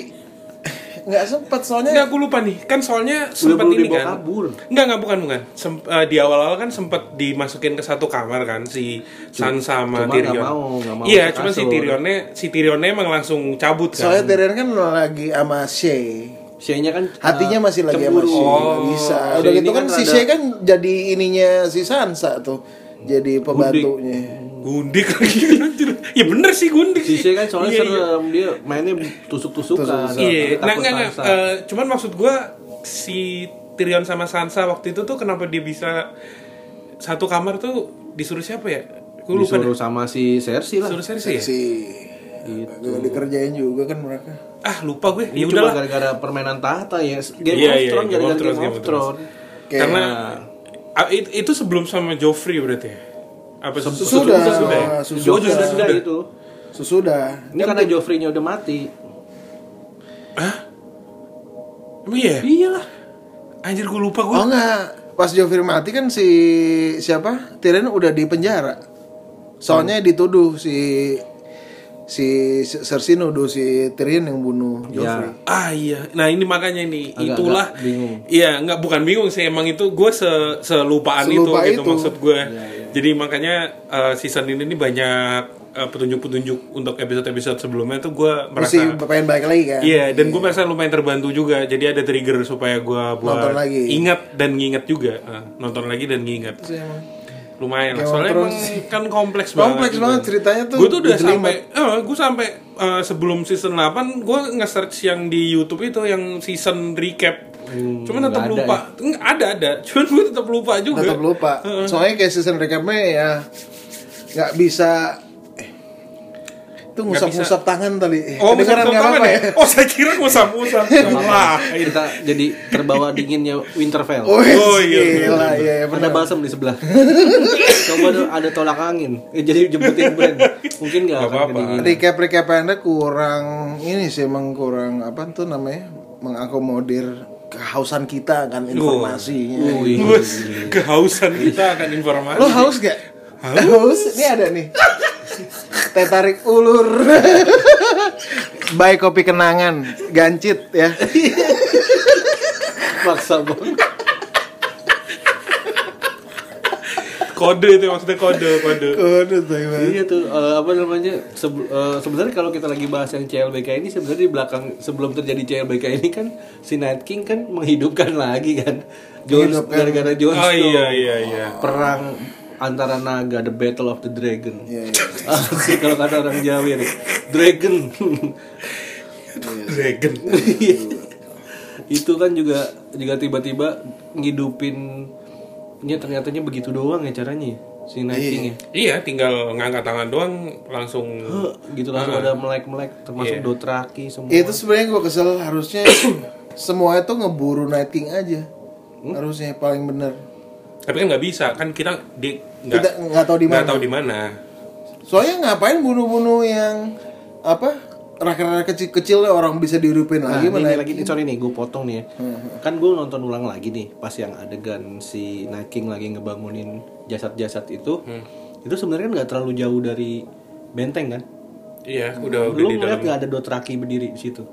S4: nggak sempat soalnya
S2: Enggak, gue lupa nih. Kan soalnya sempat
S3: buru
S2: ini
S3: dibawa
S2: kan.
S3: kabur.
S2: Enggak, enggak bukan bukan. Sem- eh, di awal-awal kan sempat dimasukin ke satu kamar kan si Sansa sama
S3: cuma
S2: Tyrion.
S3: nggak mau, nggak mau
S2: iya,
S3: ke
S2: cuman si
S3: kasur.
S2: Tyrionnya si Tyrionnya emang langsung cabut kan.
S4: soalnya Tyrion kan lagi sama Shay
S3: Shea-nya kan
S4: hatinya
S3: eh,
S4: masih lagi sama
S3: cemburu. Oh,
S4: Shay
S2: Oh.
S4: nggak bisa
S3: Shay
S4: udah
S3: ini
S4: gitu kan,
S3: kan
S4: si
S3: rada-
S4: Shay kan jadi ininya si Sansa tuh jadi pembantunya
S2: Gundik lagi anjir. Ya bener sih gundik.
S3: Si Shea kan soalnya
S2: Iya, iya.
S3: serem dia mainnya
S2: Iya, nah,
S3: tusuk-tusukan takut
S2: enggak, enggak.
S3: Sansa.
S2: Eh, cuman maksud gua si Tyrion sama Sansa waktu itu tuh kenapa dia bisa satu kamar tuh disuruh siapa ya? Gue lupa deh.
S3: disuruh sama si Cersei lah
S2: Disuruh Cersei ya?
S4: si dikerjain juga kan mereka
S2: Ah, lupa gue. Ya
S3: Ini cuma
S2: udahlah.
S3: gara-gara permainan tahta ya Game
S2: Iya,
S3: of
S2: iya,
S3: Thrones
S2: Game of
S3: gara-gara
S2: Thrones,
S3: Game
S2: Game
S3: of
S2: of
S3: Thrones
S4: Kayak-
S2: Karena Ah, it- itu sebelum sama Joffrey berarti ya? Apa se- sudah.
S4: Sudah,
S2: ya?
S4: sudah.
S2: Oh,
S3: Jojo sudah gitu.
S2: sudah.
S3: itu
S4: sesudah
S3: ini karena Joffrey-nya udah mati
S2: Emang iya?
S3: iyalah
S2: Anjir gue lupa gue.
S4: oh enggak pas Joffrey mati kan si siapa Tyrion udah di penjara
S2: Hmm.
S4: soalnya dituduh si si Cersei nuduh si Tyrion yang bunuh
S3: Ya.
S4: Joffrey
S2: Ah iya, nah ini makanya ini
S3: Agak-agak
S2: itulah
S3: bingung.
S2: Iya, nggak bukan bingung sih emang itu gue se selupaan
S4: Selupa
S2: itu gitu
S4: itu.
S2: maksud gue.
S3: Iya,
S2: Jadi makanya eh, season ini nih banyak eh, petunjuk-petunjuk untuk episode-episode sebelumnya tuh gue merasa
S4: mesti pengen balik lagi kan
S2: Iya, dan gue merasa lumayan terbantu juga. Jadi ada trigger supaya gue buat
S4: Nonton lagi.
S2: ingat dan ngingat juga. Eh, nonton lagi dan ngingat.
S4: Terus emang
S2: Lumayan lah.
S4: Game of
S2: Soalnya emang
S4: Thrones.
S2: kan kompleks banget. gitu.
S4: Kompleks banget, ceritanya tuh
S2: Gue tuh udah
S4: berjelimet.
S2: sampai eh gue sampai eh, sebelum season 8 gue nge-search yang di YouTube itu yang season recap. Cuman tetap
S3: nggak ada
S2: lupa. Nggak, Ada ada. Cuman gue tetap lupa juga.
S4: tetap lupa soalnya kayak season recapnya ya nggak bisa eh, itu ngusap-ngusap tangan tadi
S2: Oh, musab
S4: Kedengeran nggak
S2: tangan
S4: apa-apa
S2: ya? Oh, saya kira musab-musab. Wah, itu.
S3: kita jadi terbawa dinginnya Winterfell
S4: Wih,
S2: Oh, iya,
S4: gila,
S2: bener-bener.
S4: iya, iya,
S3: ada
S4: bener.
S3: balsam di sebelah coba dong ada tolak angin Eh, jadi jemputin brand mungkin nggak
S2: Nggak
S3: akan
S2: apa-apa.
S3: kedinginan
S4: recap recap anda kurang ini sih emang kurang apa tuh namanya mengakomodir kehausan kita kan informasinya
S3: Wih.
S2: Bos, kehausan kita akan informasi.
S4: lo haus gak Iya. haus ini ada nih teh tarik ulur baik kopi kenangan gancit ya
S3: maksa banget
S2: Kode itu maksudnya kode, kode.
S4: Aduh, tai banget.
S3: Iya tuh eh, apa namanya seb- eh, sebenarnya kalau kita lagi bahas yang CLBK ini sebenarnya di belakang sebelum terjadi CLBK ini kan si Night King kan menghidupkan lagi kan Jon
S4: Menghidupkan.
S3: gara-gara Jon
S2: Oh
S3: Snow
S2: iya iya iya.
S3: perang antara naga the battle of the dragon
S4: Iya, iya.
S3: Asik kalau kata orang Jawa nih dragon
S2: Dragon.
S3: Iya. itu kan juga juga tiba-tiba ngidupinnya ternyatanya begitu doang ya caranya ya, si Night King ya
S2: Iya, tinggal ngangkat tangan doang langsung
S3: Heh, gitu langsung ada melek-melek termasuk
S2: Iya.
S3: Dothraki semua
S4: itu sebenarnya gue kesel harusnya semua itu ngeburu Night King aja harusnya paling bener
S2: Tapi kan nggak bisa, kan kita di
S4: Kita nggak tahu di
S2: nggak
S4: mana.
S2: tahu di mana.
S4: soalnya ngapain bunuh-bunuh yang apa rakyat-rakyat kecil-kecil orang bisa dihidupin
S3: Nah,
S4: lagi
S3: ini,
S4: Hmm. mana
S3: ini lagi nih, sorry nih, gue potong nih ya. Kan gue nonton ulang lagi nih, pas yang adegan si Night King lagi ngebangunin jasad-jasad itu, itu sebenarnya kan nggak terlalu jauh dari benteng kan?
S2: Iya, udah udah
S3: Lu
S2: di dalam.
S3: ngeliat nggak ada Dothraki berdiri di situ?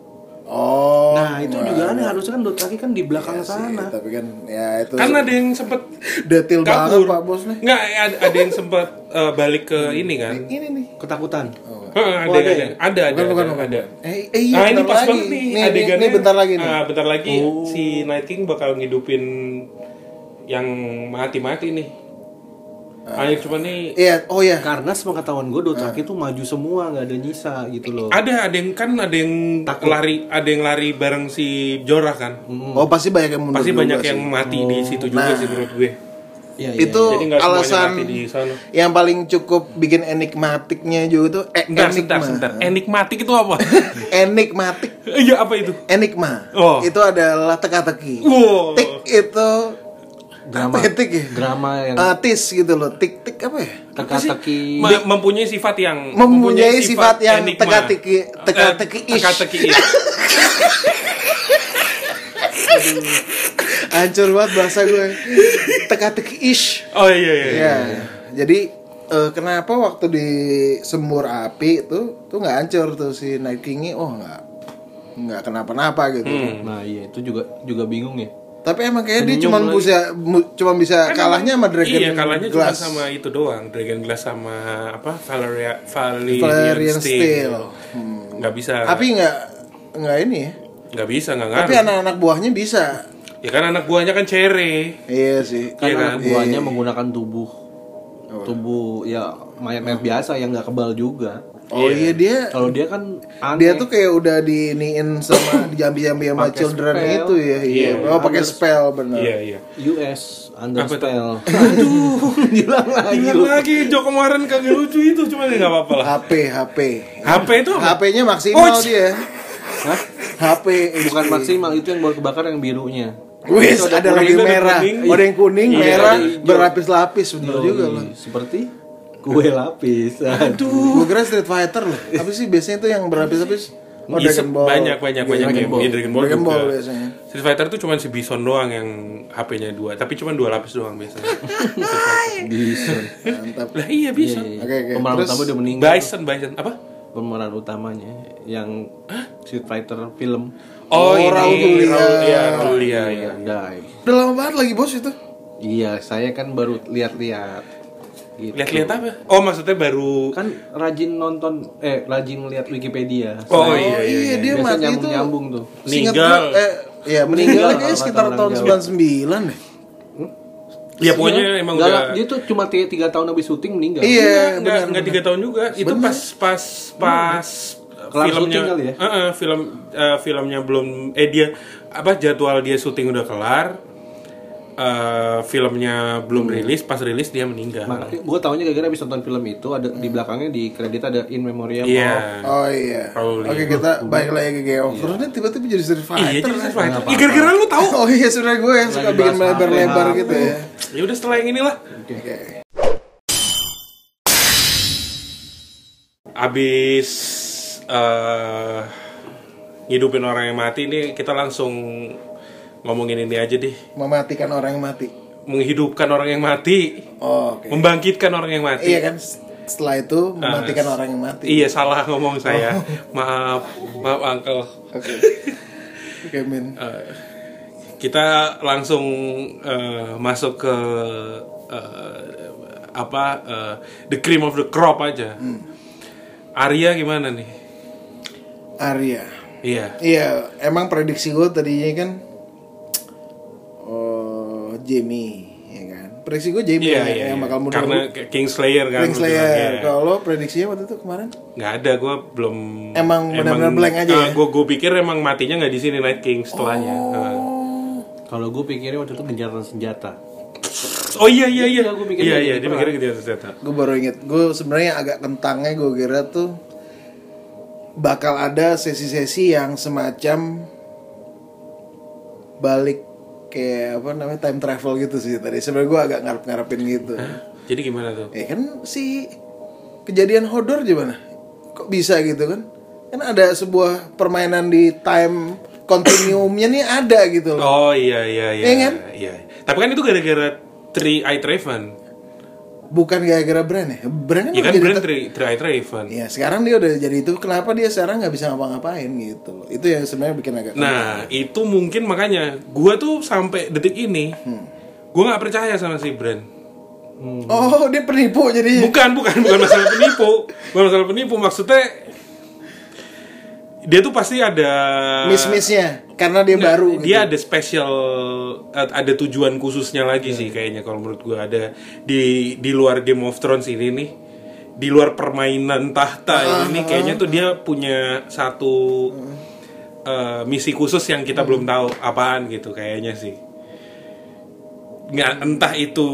S4: oh iya
S3: nah itu juga aneh, harusnya kan Dothraki kan di belakang
S4: sih,
S3: sana.
S4: tapi kan ya itu
S2: Kan ada yang sempet
S4: detail banget
S2: kabur.
S4: pak bos nih Iya.
S2: Nggak, ada, ada yang sempet eh, balik ke ini kan.
S4: ini nih
S3: Ketakutan.
S2: Heeh,
S4: Oh,
S2: ada,
S4: ya?
S2: ada, ada, ada, ada, ada.
S4: eh, eh,
S2: nah
S4: iya,
S2: ini
S4: bentar
S2: pas
S4: lagi.
S2: banget nih,
S4: Nih, nih,
S2: adegannya.
S4: nih, bentar lagi nih. Oh.
S2: Ah, bentar lagi si Night King bakal ngidupin yang mati-mati nih.
S4: Ah.
S2: Hanya cuma nih
S4: Iya, oh ya.
S3: Karena sepengetahuan gue Dothraki
S4: Ah.
S3: tuh maju semua, nggak ada nyisa gitu loh.
S2: ada ada yang kan ada yang
S3: Takut.
S2: lari ada yang lari bareng si Jorah kan.
S4: Oh pasti banyak yang mundur.
S2: Pasti
S4: juga
S2: banyak
S4: sih. Hmm. Nah.
S2: yang mati di situ juga sih menurut gue.
S3: Iya, iya,
S4: itu
S2: Jadi nggak semuanya
S4: alasan
S2: mati di sana.
S4: yang paling cukup bikin enigmatiknya juga itu eh,
S2: Enggak,
S4: enigma.
S2: sebentar, sebentar. Enigmatik itu apa?
S4: Enigmatik.
S2: Iya, apa itu?
S4: Enigma
S2: Oh. Uh,
S4: itu adalah teka-teki.
S2: Wow.
S4: Tik itu
S3: Drama.
S4: apa ya, tik ya?
S3: Drama yang
S4: Eh, tis gitu loh. Tik tik apa ya?
S3: teka-teki.
S2: Ma- mempunyai sifat yang
S4: Mempunyai sifat yang
S2: Eh,
S4: teka-teki- teka-teki-ish.
S2: teka-teki-ish.
S4: Hancur banget bahasa gue. teka-teki ish.
S2: Oh iya iya. iya.
S4: Ya. Jadi eh, kenapa waktu di semur api tuh tuh nggak hancur tuh si Night King-nya oh nggak nggak kenapa-napa gitu.
S2: Hmm.
S3: Nah iya itu juga juga bingung ya.
S4: Tapi emang kayaknya dia
S3: Senyum
S4: cuma
S3: lagi.
S4: bisa mu- cuma bisa
S2: Kan
S4: kalahnya sama Dragon
S2: Iya, kalahnya cuma
S4: Glass.
S2: sama itu doang. Dragon Glass sama apa? Valeria Valerian,
S4: Valerian
S2: Steel. Hmm.
S4: Steel.
S2: Nggak bisa.
S4: Tapi nggak nggak ini ya.
S2: nggak bisa, nggak ngaruh.
S4: Tapi anak-anak buahnya bisa.
S2: Ya kan anak buahnya kan cere.
S4: Iya
S2: Iya
S4: sih.
S2: kan? Oh.
S3: Karena buahnya
S4: iya.
S3: menggunakan tubuh tubuh ya mayat-mayat biasa yang nggak kebal juga.
S4: Oh iya dia
S3: Kalau dia kan aneh.
S4: dia tuh kayak udah diiniin sama dijambi-jambi sama
S3: Pakai
S4: children
S3: spell.
S4: itu ya. Iya. Oh pakai spell benar.
S2: Iya, iya.
S3: US under
S2: Apa tuh?
S3: spell. Aduh, hilang lagi.
S2: Ingat
S3: lu.
S2: lagi Jo kemarin kagak lucu itu cuma ya nggak apa-apa lah.
S4: HP HP.
S2: HP itu apa?
S4: HP-nya maksimal
S2: Oh,
S4: dia.
S3: Hah?
S4: HP
S3: Bukan maksimal itu yang baru kebakar yang birunya.
S4: Wis
S2: Itu ada kuning,
S4: ada lagi
S2: ada
S4: merah,
S2: kuning.
S4: ada yang kuning,
S2: Iya,
S4: merah,
S2: ada
S3: hijau.
S4: berlapis-lapis bener
S3: Yoi,
S4: juga loh.
S3: Seperti kue lapis. Aduh.
S4: Gue kira Street Fighter loh. Apa sih biasanya tuh yang berlapis-lapis? Oh,
S2: Iya,
S4: Dragon Ball.
S2: Banyak banyak banyak
S4: Dragon
S2: game.
S4: Ball.
S2: Iya, Dragon Ball
S4: Dragon
S2: juga.
S4: Ball biasanya.
S2: Street Fighter tuh cuma si Bison doang yang HP-nya dua, tapi cuma dua lapis doang biasanya.
S3: Bison.
S4: Mantap.
S2: lah iya Bison.
S4: Oke, oke.
S3: Pemeran
S4: Terus-
S3: utama udah meninggal.
S2: Bison, Bison apa?
S3: Pemeran utamanya yang Street Fighter film.
S2: Oh, ini
S4: Raul Julia.
S2: Raul Julia, Raul Julia, iya.
S3: Die.
S4: Udah lama banget lagi bos itu.
S3: Iya, saya kan baru lihat-lihat. Gitu.
S2: Lihat-lihat apa? Oh, maksudnya baru
S3: Kan rajin nonton, eh rajin lihat Wikipedia.
S2: Oh,
S3: Saya
S2: iya, iya, iya.
S4: dia
S3: biasa
S4: mati
S3: nyambung,
S4: itu.
S3: nyambung tuh.
S4: Seingat
S2: Meninggal.
S4: gua, Eh, ya meninggal
S3: Meninggal
S4: kayaknya
S3: kalau
S4: sekitar
S3: kata
S4: tahun
S3: orang
S4: 99 deh.
S2: ya pokoknya emang
S3: Nggak
S2: udah
S3: lah, Dia tuh cuma t- tiga tahun habis syuting meninggal.
S4: Iya,
S2: nggak
S4: benar.
S2: nggak tiga tahun juga itu pas pas pas uh,
S3: Kelar
S2: filmnya
S3: syuting kali ya?
S2: Eh, eh, film eh, filmnya belum eh dia apa jadwal dia syuting udah kelar eh, filmnya belum rilis pas rilis dia meninggal
S3: Makanya gue Nah, taunya gara-gara habis nonton film itu ada di belakangnya di kredit ada in memoriam.
S2: iya
S4: Oh iya.
S2: Probably.
S4: Oke, kita balik lagi ke Geo. Terus dia tiba-tiba jadi Street Fighter.
S2: iya jadi Street Fighter Ih, gara-gara lu tahu
S4: Oh iya, sudah gue yang suka
S3: Lagi
S4: bikin
S3: bahas
S4: melebar-lebar
S3: HP.
S4: gitu ya.
S2: ya udah setelah yang inilah
S4: Oke.
S2: abis eh ngidupin orang yang mati ini kita langsung ngomongin ini aja deh
S4: Mematikan orang yang mati.
S2: menghidupkan orang yang mati
S4: Oh, Oke.
S2: membangkitkan orang yang mati
S4: Iya kan? Setelah itu mematikan orang yang mati.
S2: Iya salah ngomong
S4: Oh.
S2: saya. Maaf, maaf Uncle.
S4: Oke. Oke, Min.
S2: Ah. Kita langsung eh, masuk ke eh, apa eh, the cream of the crop aja.
S4: Hmm.
S2: Arya gimana nih?
S4: Arya.
S2: Iya.
S4: Iya, emang prediksi gue tadinya kan oh, Jamie, ya kan. Prediksi gue Jamie
S2: Iya,
S4: ya,
S2: iya.
S4: yang
S2: iya.
S4: bakal mundur.
S2: Karena Kingslayer kan. lu bilang, iya.
S4: Kingslayer. Kalau prediksinya waktu itu kemarin?
S2: nggak ada, gue belum.
S4: Emang benar-benar blank aja ya?
S2: Gue gue pikir emang matinya nggak di sini Night King setelahnya. Heeh.
S3: Kalau gue pikirnya waktu itu gencatan senjata.
S2: Oh iya iya iya.
S3: Iya, gua pikir
S2: Iya
S3: dia
S2: iya, dia
S3: jadi perang.
S2: mikirnya gitu ternyata.
S4: Gue baru inget. Gue sebenarnya agak kentangnya gue kira tuh bakal ada sesi-sesi yang semacam balik kayak apa namanya time travel gitu sih tadi sebenarnya gue agak ngarep-ngarepin gitu
S2: Jadi gimana tuh?
S4: Ya kan si kejadian Hodor gimana? Kok bisa gitu kan? Kan ada sebuah permainan di time continuumnya nih ada gitu loh.
S2: Oh iya iya iya.
S4: Iya kan?
S2: Iya. Tapi kan itu gara-gara Three Eye Raven.
S4: Bukan gara-gara brand ya? Brand kan
S2: Ya kan
S4: udah jadi
S2: brand
S4: ter-
S2: Three, three Eye Raven.
S4: Iya, sekarang dia udah jadi itu. Kenapa dia sekarang nggak bisa ngapa-ngapain gitu? loh. Itu yang sebenarnya bikin agak.
S2: Nah itu mungkin makanya gua tuh sampai detik ini
S4: Hmm.
S2: gua nggak percaya sama si brand.
S4: Oh, dia penipu jadi.
S2: Bukan bukan bukan masalah penipu, bukan masalah penipu maksudnya dia tuh pasti ada
S4: miss-missnya karena dia baru gitu.
S2: dia ada special ad- ada tujuan khususnya lagi
S4: Iya.
S2: sih kayaknya kalau menurut gua ada di di luar Game of Thrones ini nih di luar permainan
S4: Ah,
S2: tahta ini kayaknya tuh dia punya satu eh, misi khusus yang
S4: Hmm.
S2: kita belum tahu apaan gitu kayaknya sih nggak
S4: Hmm.
S2: entah itu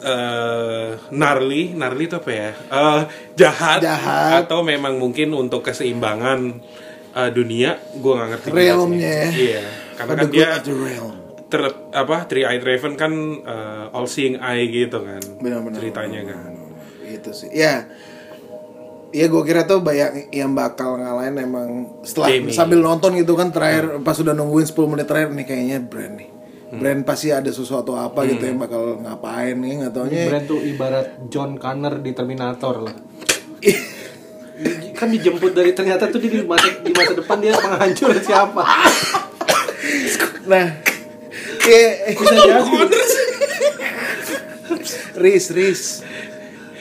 S2: eh gnarly gnarly itu apa ya Eh, jahat,
S4: Jahat.
S2: atau memang mungkin untuk keseimbangan eh, dunia gue nggak ngerti juga sih.
S4: Realmnya ya.
S2: iya karena
S4: Pada
S2: kan dia
S4: the realm
S2: ter, apa three eyed raven kan eh, all seeing eye gitu kan
S4: Benar-benar.
S2: ceritanya kan
S4: itu sih ya ya gue kira tuh banyak yang bakal ngalahin emang setelah
S2: Jamie.
S4: sambil nonton gitu kan terakhir pas sudah nungguin 10 menit terakhir nih kayaknya brand nih
S2: Hmm.
S4: brand pasti ada sesuatu apa gitu yang bakal ngapain nih nggak
S2: Iya.
S4: taunya
S3: Brand tuh ibarat John Connor di Terminator lah.
S2: Iya.
S3: kan dijemput dari ternyata tuh dia di masa, di masa depan dia penghancur siapa
S4: nah ya bisa jadi Riz Riz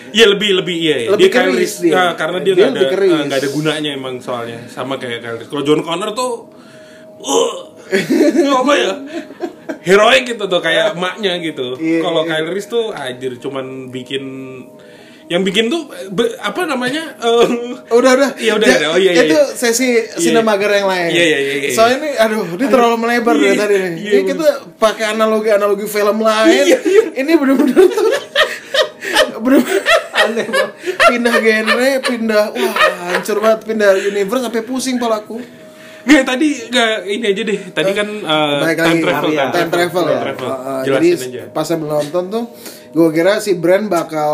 S2: Iya lebih lebih iya, iya.
S4: Lebih
S2: dia Kyle
S4: keris
S2: Reese,
S4: dia.
S2: nah, karena dia nggak
S4: Dia
S2: ada
S4: lebih keris.
S2: eh, nggak ada gunanya emang soalnya sama kayak Kyle Reese. Kalau John Connor tuh uh, apa ya? Heroik gitu tuh kayak emaknya gitu.
S4: Iya,
S2: Kalau Kyle Reese tuh anjir cuman bikin yang bikin tuh be- apa namanya? eh,
S4: udah udah
S2: Iya, udah,
S4: Ya,
S2: udah. Oh, iya, iya.
S4: itu sesi sinemager yang lain
S2: Iya, iya, iya, iya.
S4: soalnya ini aduh ini terlalu melebar dari tadi nih
S2: iya,
S4: Jadi kita pakai analogi analogi film lain ini bener-bener tuh bener aneh banget. pindah genre pindah wah hancur banget pindah universe sampai pusing palaku
S2: Nggak, tadi nggak ini aja deh. Tadi kan eh,
S4: Balik
S2: time
S4: lagi,
S2: travel
S4: Maria.
S2: kan.
S4: time travel ya.
S2: travel.
S4: Uh, uh, jadi
S2: Jelasin aja.
S4: pas saya menonton tuh, gue kira si brand bakal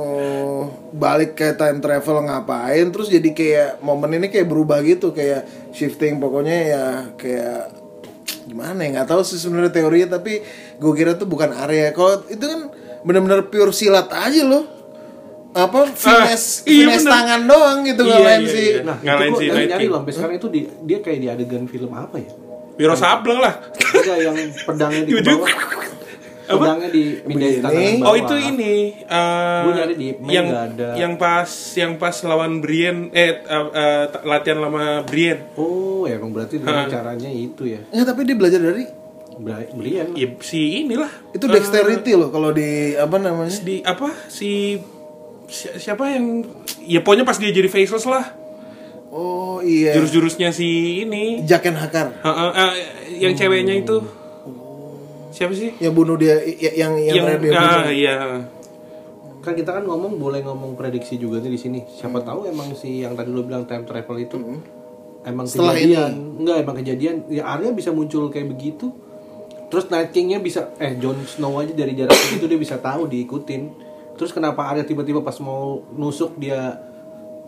S4: uh, balik ke time travel ngapain, terus jadi kayak momen ini kayak berubah gitu, kayak shifting pokoknya ya kayak gimana ya nggak tahu sih sebenarnya teorinya tapi gue kira tuh bukan area kalau itu kan bener-bener pure silat aja loh apa finesse,
S2: iya
S4: finesse
S2: bener.
S4: tangan doang gitu
S2: Iya,
S4: ngalahin
S2: iya,
S4: si
S2: iya. Ngalahin si
S3: Nah, itu gua nyari- nyari
S2: Nighting.
S3: loh sampai sekarang itu di- dia kayak di adegan film apa ya
S2: Wiro Sableng lah.
S3: ada yang pedangnya di
S2: Yudhu.
S3: bawah pedangnya di pindahin
S4: Begini.
S3: tangan ke
S2: Oh
S3: bawah.
S2: itu ini eh,
S3: Gua nyari di Ipman
S2: yang
S3: nggak ada.
S2: yang pas yang pas lawan Brian eh eh, eh, ta- latihan lama Brian.
S3: oh ya emang berarti dengan caranya itu ya
S4: Nggak, Nah, tapi dia belajar dari
S3: Bra- belian
S2: Ya, si inilah
S4: itu
S2: Eh.
S4: dexterity loh kalau di apa namanya
S2: di apa si si- siapa yang ya pokoknya pas dia jadi faceless lah
S4: Oh iya.
S2: jurus-jurusnya si ini
S4: Jaken Hakar
S2: Ha, ha, eh, yang ceweknya itu siapa sih
S4: yang bunuh dia i- i- yang yang, yang Hmm. dia bunuh.
S2: ah, iya
S3: kan kita kan ngomong boleh ngomong prediksi juga nih di sini siapa
S4: Hmm.
S3: tahu emang si yang tadi lo bilang time travel itu emang
S4: Setelah
S3: kejadian enggak emang kejadian ya Arya bisa muncul kayak begitu terus Night King-nya bisa eh Jon Snow aja dari jarak itu dia bisa tahu diikutin terus kenapa Arya tiba-tiba pas mau nusuk dia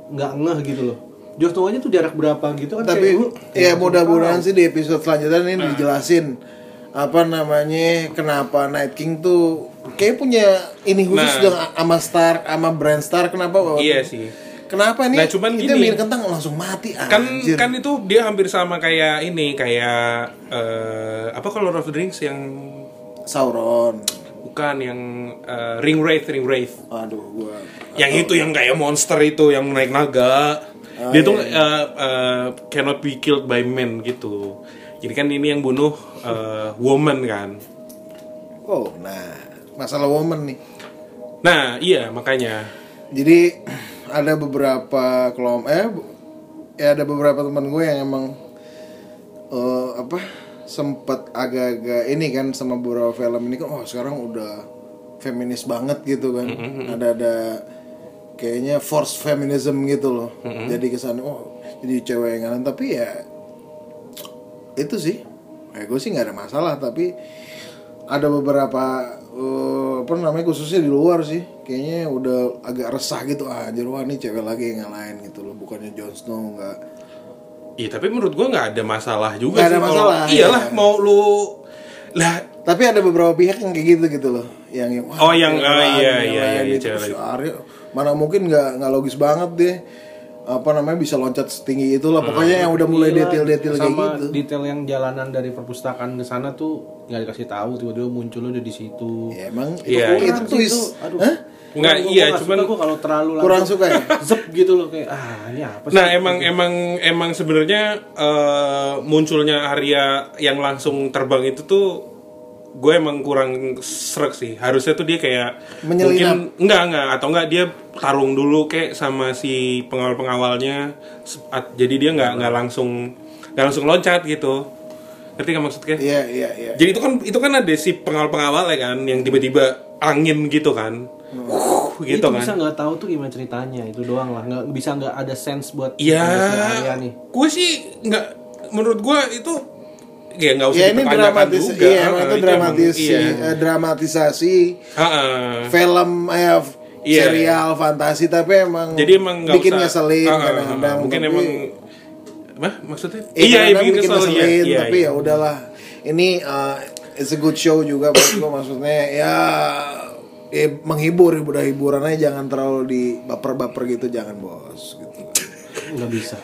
S3: nggak ngeh gitu loh Jon Snow aja tuh jarak berapa gitu kan
S4: Tapi
S3: kayak, "Huh,
S2: Iya.
S4: ya
S3: kayak
S4: mudah-mudahan sih di episode selanjutnya
S2: Nah.
S4: ini dijelasin apa namanya kenapa Night King tuh kayak punya ini
S2: Nah.
S4: khusus dengan sama Stark sama Bran Stark kenapa waktu-
S2: iya sih
S4: Kenapa nih?
S2: Nah, cuman gini.
S4: itu yang bikin kentang langsung mati
S2: kan
S4: anjir.
S2: kan itu dia hampir sama kayak ini kayak eh, apa kalau Lord of the Rings yang
S4: Sauron.
S2: Bukan yang eh, ring wraith, ring wraith.
S4: Aduh gua.
S2: Yang
S4: Oh.
S2: itu yang kayak monster itu yang naik naga.
S4: Ah,
S2: dia tuh
S4: iya,
S2: eh, eh, cannot be killed by men gitu. Jadi kan ini yang bunuh eh, woman kan.
S4: Oh, nah, masalah woman nih.
S2: Nah, iya makanya.
S4: jadi ada beberapa kelompok eh bu- ya ada beberapa teman gue yang emang eh, apa sempat agak-agak ini kan sama beberapa film ini kan oh sekarang udah feminis banget gitu kan ada ada kayaknya force feminism gitu loh jadi kesan oh jadi cewek yang nganan tapi ya itu sih eh, gue sih nggak ada masalah tapi ada beberapa eh, apa namanya khususnya di luar sih kayaknya udah agak resah gitu ah anjir wah ini cewek lagi yang ngalahin gitu loh bukannya Jon Snow nggak
S2: Iya, tapi menurut gua nggak ada masalah juga
S4: Nggak ada
S2: sih kalau-
S4: masalah,
S2: iyalah
S4: iya.
S2: mau lu lah
S4: tapi ada beberapa pihak yang kayak gitu gitu loh yang yang wah,
S2: Oh, yang,
S4: cewek
S2: ah, iya,
S4: ngalahin, yang
S2: iya,
S4: lain
S2: iya,
S4: gitu.
S2: cewek
S4: Terus, Arya, mana mungkin nggak nggak logis banget deh apa namanya bisa loncat setinggi
S2: Hmm.
S4: itulah pokoknya yang udah mulai
S3: Gila,
S4: detail-detail
S3: Iya,
S4: kayak
S3: sama
S4: gitu
S3: detail yang jalanan dari perpustakaan ke sana tuh nggak dikasih tahu tiba-tiba muncul udah di situ
S4: Ya emang
S2: Iya,
S4: itu,
S2: iya.
S4: itu twist.
S3: aduh
S4: Hah?
S2: Nggak,
S3: Gua- gua-
S2: iya,
S3: gua nggak
S2: cuman-
S3: suka gua kalau terlalu
S4: Kurang
S3: langsung
S4: suka ya?
S3: zep gitu loh kayak ah ini apa sih
S2: Nah emang emang emang sebenarnya eh, munculnya Arya yang langsung terbang itu tuh gue emang kurang srek sih harusnya tuh dia kayak
S4: Menyelinap.
S2: mungkin enggak enggak atau enggak dia tarung dulu kayak sama si pengawal pengawalnya jadi dia nggak nggak langsung nggak langsung loncat gitu ngerti nggak maksudnya
S4: Iya, iya, iya.
S2: jadi itu kan itu kan ada si pengawal-pengawal ya kan yang tiba-tiba angin gitu kan.
S4: Hmm.
S2: Wuh, gitu
S3: itu
S2: kan.
S3: bisa nggak tahu tuh gimana ceritanya itu doang lah nggak bisa nggak ada sense buat
S2: Iya.
S3: ada Arya nih
S2: Gue sih nggak menurut gue itu ya nggak usah
S4: Ya ini
S2: dipertanyakan
S4: dramatis,
S2: juga.
S4: iya,
S2: Heeh,
S4: emang itu
S2: emang-
S4: dramatisi,
S2: iya.
S4: eh, dramatisasi
S2: Heeh.
S4: film eh, f-
S2: Iya.
S4: serial fantasi tapi emang
S2: Jadi emang nggak
S4: bikin
S2: usah-
S4: ngeselin
S2: heeh,
S4: kadang-kadang.
S2: Mungkin
S4: tapi-
S2: emang Mah maksudnya?
S4: Eh,
S2: iya, iya,
S4: kadang-kadang
S2: bikin kesel, iya,
S4: ngeselin,
S2: iya,
S4: tapi
S2: iya.
S4: ya udahlah. Ini eh, it's a good show juga buat gua maksudnya ya eh, menghibur udah hiburan aja jangan terlalu di baper-baper gitu jangan bos gitu.
S3: nggak bisa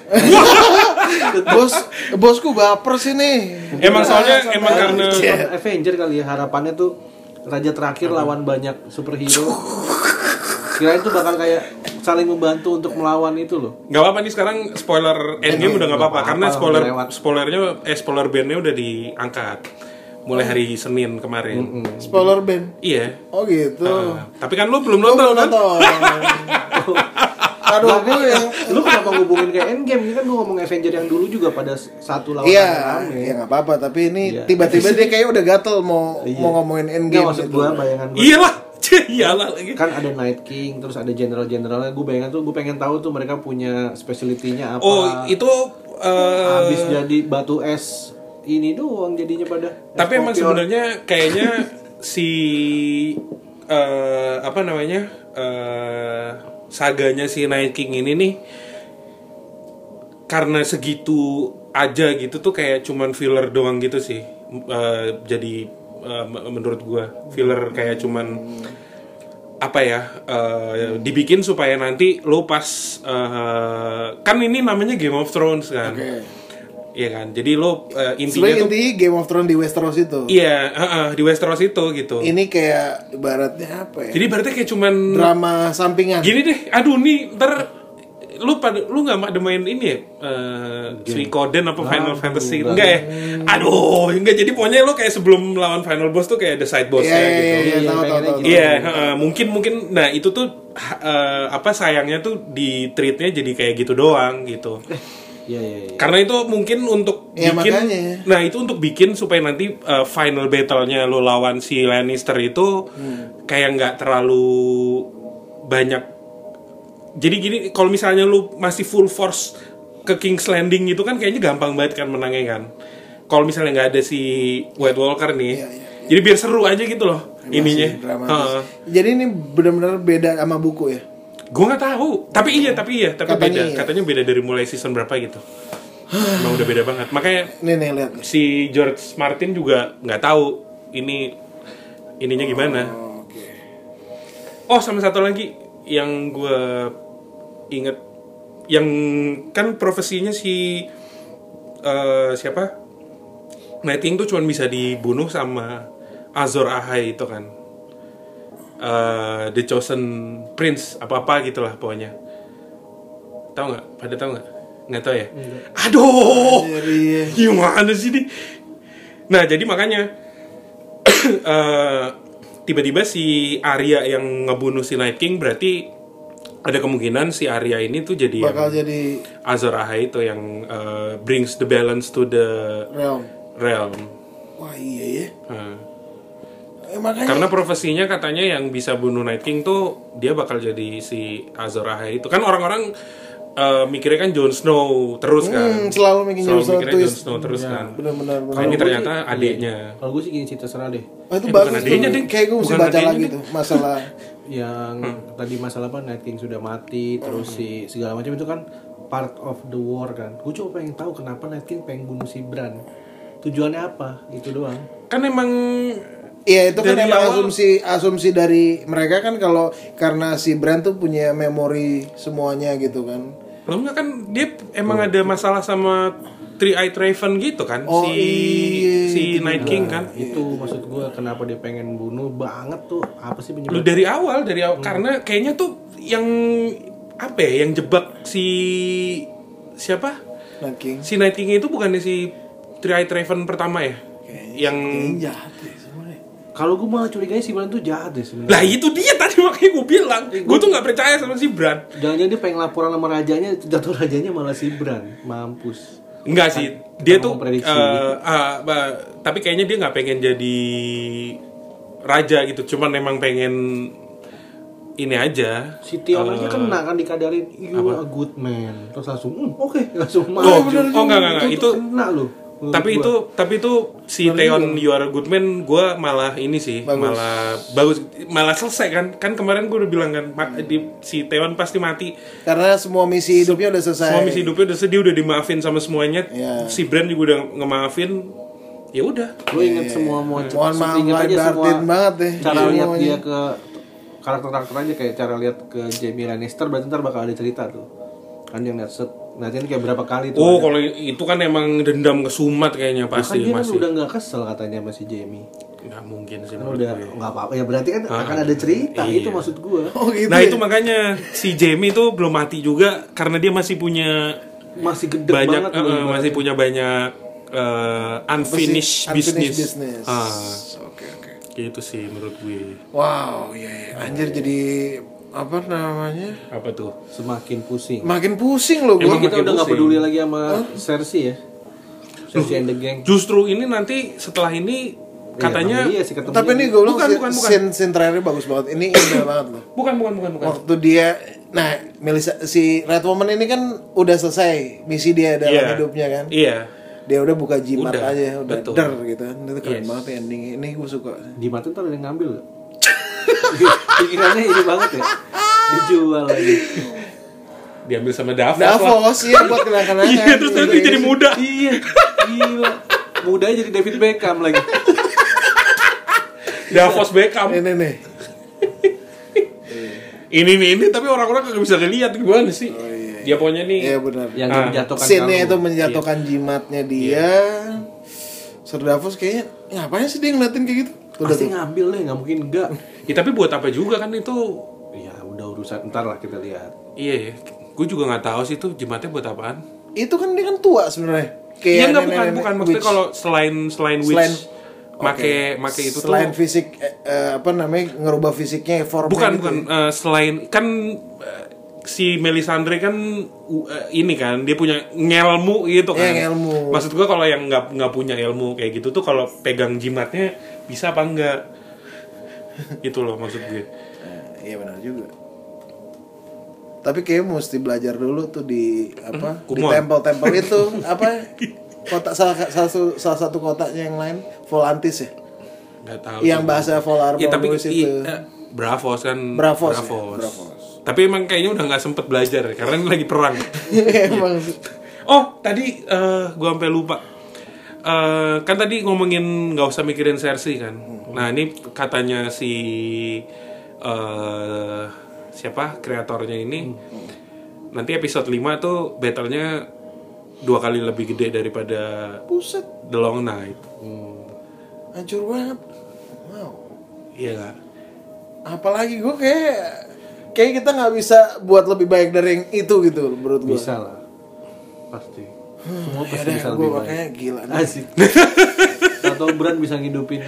S4: bos bosku baper sih nih
S2: Emang soalnya
S4: Santai
S2: emang
S4: aja.
S2: karena
S4: Iya.
S3: Avenger kali ya harapannya tuh raja terakhir lawan banyak superhero kirain tuh bakal kayak saling membantu untuk melawan itu loh
S2: Gak apa-apa nih sekarang spoiler endgame udah gak apa-apa
S3: apa-apa,
S2: karena spoiler
S3: udah lewat.
S2: spoilernya eh spoiler bandnya udah diangkat mulai hari Senin kemarin.
S4: spoiler band
S2: Iya.
S4: oh gitu
S2: Nah, tapi kan lu belum
S4: Lu
S2: nonton
S4: belum
S2: kan?
S4: nonton aduh
S3: Lah,
S4: gua
S3: kan,
S4: yang
S3: lu kenapa ngubungin kayak Endgame ini kan lu ngomong Avenger yang dulu juga pada s- satu lawan
S4: Iya,
S3: rame.
S4: ya nggak apa-apa. Tapi ini
S3: Iya.
S4: tiba-tiba dia kayak udah gatel mau
S3: Iya.
S4: mau ngomongin
S3: Nggak,
S4: endgame
S3: maksud
S4: gitu.
S3: gua bayangan gua
S2: Iyalah. Iyalah lagi.
S3: kan ada Night King terus ada general-generalnya gue bayangan tuh gue pengen tahu tuh mereka punya specialty-nya apa
S2: Oh, itu eh,
S3: habis jadi batu es ini doang jadinya pada
S2: tapi
S3: es
S2: emang
S3: kopior.
S2: sebenarnya kayaknya si eh, apa namanya? eh, saganya si Night King ini nih karena segitu aja gitu tuh kayak cuman filler doang gitu sih. Eh, jadi eh, m- menurut gua filler kayak cuman apa ya eh, dibikin supaya nanti lo pas eh, kan ini namanya Game of Thrones kan. Iya kan. Jadi lo eh, intinya
S4: Sebenarnya
S2: tuh
S4: intinya Game of Thrones di Westeros itu.
S2: Iya, heeh, di Westeros itu gitu.
S4: Ini kayak ibaratnya apa ya?
S2: Jadi berarti kayak cuman
S4: Drama sampingan.
S2: gini deh. Aduh nih, ntar lu pada lu nggak ada main ini ya? eh, Suikoden apa
S4: Nah,
S2: Final Fantasy enggak, ya? Aduh, enggak jadi pokoknya lu kayak sebelum lawan final boss tuh kayak ada side boss
S4: Iya,
S2: ya
S4: iya,
S2: gitu.
S4: iya,
S3: Iya,
S4: tahu, tahu,
S3: pengennya
S4: tahu.
S3: gitu.
S2: Iya, heeh, mungkin mungkin nah itu tuh ha- eh, apa sayangnya tuh di treatnya jadi kayak gitu doang gitu.
S4: Eh,
S3: iya iya iya
S2: Karena itu mungkin untuk
S4: Ya,
S2: bikin,
S4: makanya.
S2: nah itu untuk bikin supaya nanti uh, final battle-nya lo lawan si Lannister itu
S4: Hmm.
S2: kayak nggak terlalu banyak. Jadi gini, kalau misalnya lu masih full force ke King's Landing gitu kan kayaknya gampang banget kan menangnya kan. Kalau misalnya nggak ada si White Walker nih,
S4: Iya,
S2: jadi biar seru aja gitu loh ininya.
S4: Dramatis. Iya, Jadi ini benar-benar beda sama buku ya.
S2: Gue nggak tahu, tapi iya, tapi iya, tapi
S4: Katanya
S2: beda.
S4: iya.
S2: Katanya beda dari mulai season berapa gitu. Emang udah beda banget. Makanya
S4: Nih nih lihat. nih.
S2: si George Martin juga nggak tahu ini ininya gimana.
S4: Oke.
S2: Oh sama satu lagi yang gue inget yang kan profesinya si eh, siapa Nighting tuh cuma bisa dibunuh sama Azor Ahai itu kan Eh, The Chosen Prince apa apa gitulah pokoknya tahu nggak pada tahu nggak nggak tahu ya aduh
S4: Iya. Jadi
S2: gimana Iya, sih ini? Nah jadi makanya eh, tiba-tiba si Arya yang ngebunuh si Night King berarti ada kemungkinan si Arya ini tuh jadi
S4: bakal
S2: yang
S4: jadi
S2: Azor Ahai itu yang eh, brings the balance to the
S4: realm.
S2: realm.
S4: Wah iya ya.
S2: Eh,
S4: Eh, makanya
S2: Karena profesinya katanya yang bisa bunuh Night King tuh dia bakal jadi si Azor Ahai itu kan orang-orang eh, mikirnya kan Jon Snow terus kan.
S4: Hmm, selalu bikin Jon Snow
S2: mikirnya Jon
S4: twist. Iya.
S2: Snow terus kan.
S4: benar-benar.
S2: Nah, ini ternyata adiknya.
S3: kalau gue sih gini cerita serah deh
S4: Oh,
S2: Eh, bukan
S4: itu bagus tuh.
S2: adanya, Ding.
S4: Kayak gue mesti
S2: Bukan
S4: baca
S2: adanya,
S4: lagi
S2: Ding.
S4: tuh masalah
S3: yang
S2: Hmm.
S3: tadi masalah apa Night King sudah mati terus si segala macam itu kan part of the war kan gue coba pengen tahu kenapa Night King pengen bunuh si Bran tujuannya apa itu doang
S2: kan emang
S4: Iya itu kan
S2: Dari
S4: emang
S2: awal-
S4: asumsi asumsi dari mereka kan kalau karena si brand tuh punya memori semuanya gitu kan.
S2: Kalau enggak kan dia emang ada masalah sama Three Eyed Raven gitu kan
S4: Oh,
S2: si
S4: iya,
S2: si Night King kan.
S3: itu maksud gue kenapa dia pengen bunuh banget tuh apa sih
S2: Lu
S3: penyebab
S2: dari awal dari
S4: Hmm.
S2: awal karena kayaknya tuh yang apa ya yang jebak si siapa?
S4: Night Nah, King
S2: Si Night King itu bukannya si Three Eyed Raven pertama ya? yang
S4: Kayaknya jahat ya sebenarnya
S3: kalau gue malah curiganya si Bran tuh jahat deh sebenarnya
S2: lah itu dia tadi makanya gue bilang
S4: Iya,
S2: gue tuh nggak percaya sama si Bran
S3: jangan-jangan dia pengen laporan sama rajanya jatuh rajanya malah si Bran mampus
S2: Enggak sih, dia
S3: Kita
S2: tuh
S3: mau prediksi.
S2: eh, ah, ba- tapi kayaknya dia nggak pengen jadi raja gitu, cuman emang pengen ini aja.
S3: si Tion aja
S2: Eh,
S3: kena kan dikadarin you a good man terus langsung "Hmm, oke langsung
S2: Oh,
S3: marah
S2: ju- oh enggak enggak, enggak. itu
S3: kena lu menurut
S2: tapi
S3: gua.
S2: itu tapi itu si Theon You Are a Good Man gue malah ini sih
S4: Bagus.
S2: malah bagus malah selesai kan kan kemarin gue udah bilang kan ma- di- si Theon pasti mati
S4: karena semua misi hidupnya udah selesai
S2: semua misi hidupnya udah sedih udah dimaafin sama semuanya
S4: Iya.
S2: si Bran juga udah ngemaafin ya udah
S3: lu inget semua mau
S4: Mohon maaf, Martin banget
S2: ya.
S4: deh.
S3: cara
S4: Iya,
S3: lihat
S4: semuanya.
S3: dia ke karakter karakter aja kayak cara lihat ke Jamie Lannister berarti ntar bakal ada cerita tuh kan dia ngeliat set nanti kayak berapa kali tuh
S2: oh
S3: ada.
S2: kalau itu kan emang dendam ke Sumat kayaknya
S3: kan
S2: pasti
S3: dia kan
S2: masih
S3: udah nggak kesel katanya sama si Jamie
S2: nggak mungkin sih
S3: kan
S2: menurut
S3: udah
S2: gue.
S3: nggak apa-apa ya berarti kan akan ada cerita
S2: Ah, Iya.
S3: itu maksud gua
S4: oh gitu
S2: nah
S4: ya?
S2: itu makanya si Jamie tuh belum mati juga karena dia masih punya
S3: masih gede
S2: banyak
S3: banget
S2: eh,
S3: loh.
S2: eh, masih punya banyak eh, unfinished,
S4: Unfinished
S2: business,
S4: business.
S2: Ah,
S4: oke oke
S2: gitu sih menurut gue
S4: wow ya ya. anjir jadi apa namanya
S2: apa tuh
S3: semakin pusing
S4: makin pusing loh
S3: Jadi
S4: gue
S2: gitu.
S3: kita udah nggak
S2: pusing.
S3: peduli lagi sama Cersei ya Cersei and the gang
S2: justru ini nanti setelah ini katanya
S3: iya sih ketemu
S4: tapi ini gue bilang
S2: Bukan,
S4: si-
S2: bukan, bukan.
S4: scene, scene terakhirnya bagus banget ini indah banget loh
S2: bukan bukan bukan bukan
S4: waktu dia nah Melissa si Red Woman ini kan udah selesai misi dia dalam
S2: Iya.
S4: hidupnya kan
S2: iya
S4: dia udah buka jimat
S2: Udah,
S4: aja udah
S2: betul.
S4: der gitu kan itu keren banget ya endingnya ini gue suka
S3: di mata ntar ada yang ngambil nggak? pikirannya ini banget ya dijual lagi
S2: diambil sama Davos, lah.
S4: Davos ya buat kenang-kenangan
S2: iya terus nanti
S4: Gitu.
S2: jadi muda
S3: iya gila muda jadi David Beckham lagi
S2: Davos Beckham
S4: ini nih
S2: ini nih ini tapi orang-orang kagak bisa ngeliat gimana sih dia pokoknya nih
S4: Oh, iya benar
S3: yang
S2: Ah,
S3: menjatuhkan
S4: scene itu
S3: kalung.
S2: Iya.
S4: menjatuhkan jimatnya dia Sir Davos kayaknya ngapain sih dia ngeliatin kayak gitu udah
S3: pasti ngambil deh nggak mungkin enggak
S2: Ya, tapi buat apa juga kan itu
S3: ya udah urusan ntar lah kita lihat
S2: Iya, gue juga nggak tahu sih itu jimatnya buat apaan.
S4: itu kan dia kan tua sebenarnya kayak
S2: Iya nggak bukan
S4: nenek-nenek
S2: bukan maksudnya
S4: witch.
S2: kalau selain selain witch,
S4: Selain-
S2: make make itu
S4: selain
S2: tuh
S4: fisik eh, eh, apa namanya ngerubah fisiknya formnya
S2: bukan
S4: gitu.
S2: bukan eh, selain kan eh, si Melisandre kan u- eh, ini kan dia punya ngelmu gitu kan.
S4: Iya, ngelmu.
S2: Maksud gue kalau yang nggak nggak punya ilmu kayak gitu tuh kalau pegang jimatnya bisa apa enggak? itu loh maksud gue.
S4: Eh, iya benar juga tapi kayak mesti belajar dulu tuh di apa di
S2: kumon.
S4: tempel-tempel itu apa kota salah, salah, satu- salah satu kotanya yang lain Volantis ya
S2: Nggak tahu.
S4: yang
S2: juga.
S4: bahasa Volar
S2: Ya
S3: Iya,
S2: tapi
S4: Volus
S2: i-
S4: itu
S2: eh, Bravos kan
S4: Bravos, ya, Bravos.
S2: Bravos. Tapi emang kayaknya udah nggak sempet belajar ya, karena lagi perang.
S4: emang sih.
S2: Oh, tadi eh gue sampai lupa. Eh, kan tadi ngomongin nggak usah mikirin Cersei kan. Nah ini katanya si eh siapa kreatornya ini. Nanti episode 5 tuh battlenya dua kali lebih gede daripada
S4: Buset,
S2: The Long Night.
S3: Hmm,
S4: hancur banget. Wow.
S2: Iya nggak?
S4: Apalagi gue kayak kayak kita nggak bisa buat lebih baik dari yang itu gitu loh, menurut gue.
S3: bisa lah pasti semua
S4: Ya
S3: pasti
S4: deh,
S3: bisa
S4: gue
S3: lebih baik
S4: makanya gila. nih.
S3: asik atau Bran bisa ngidupin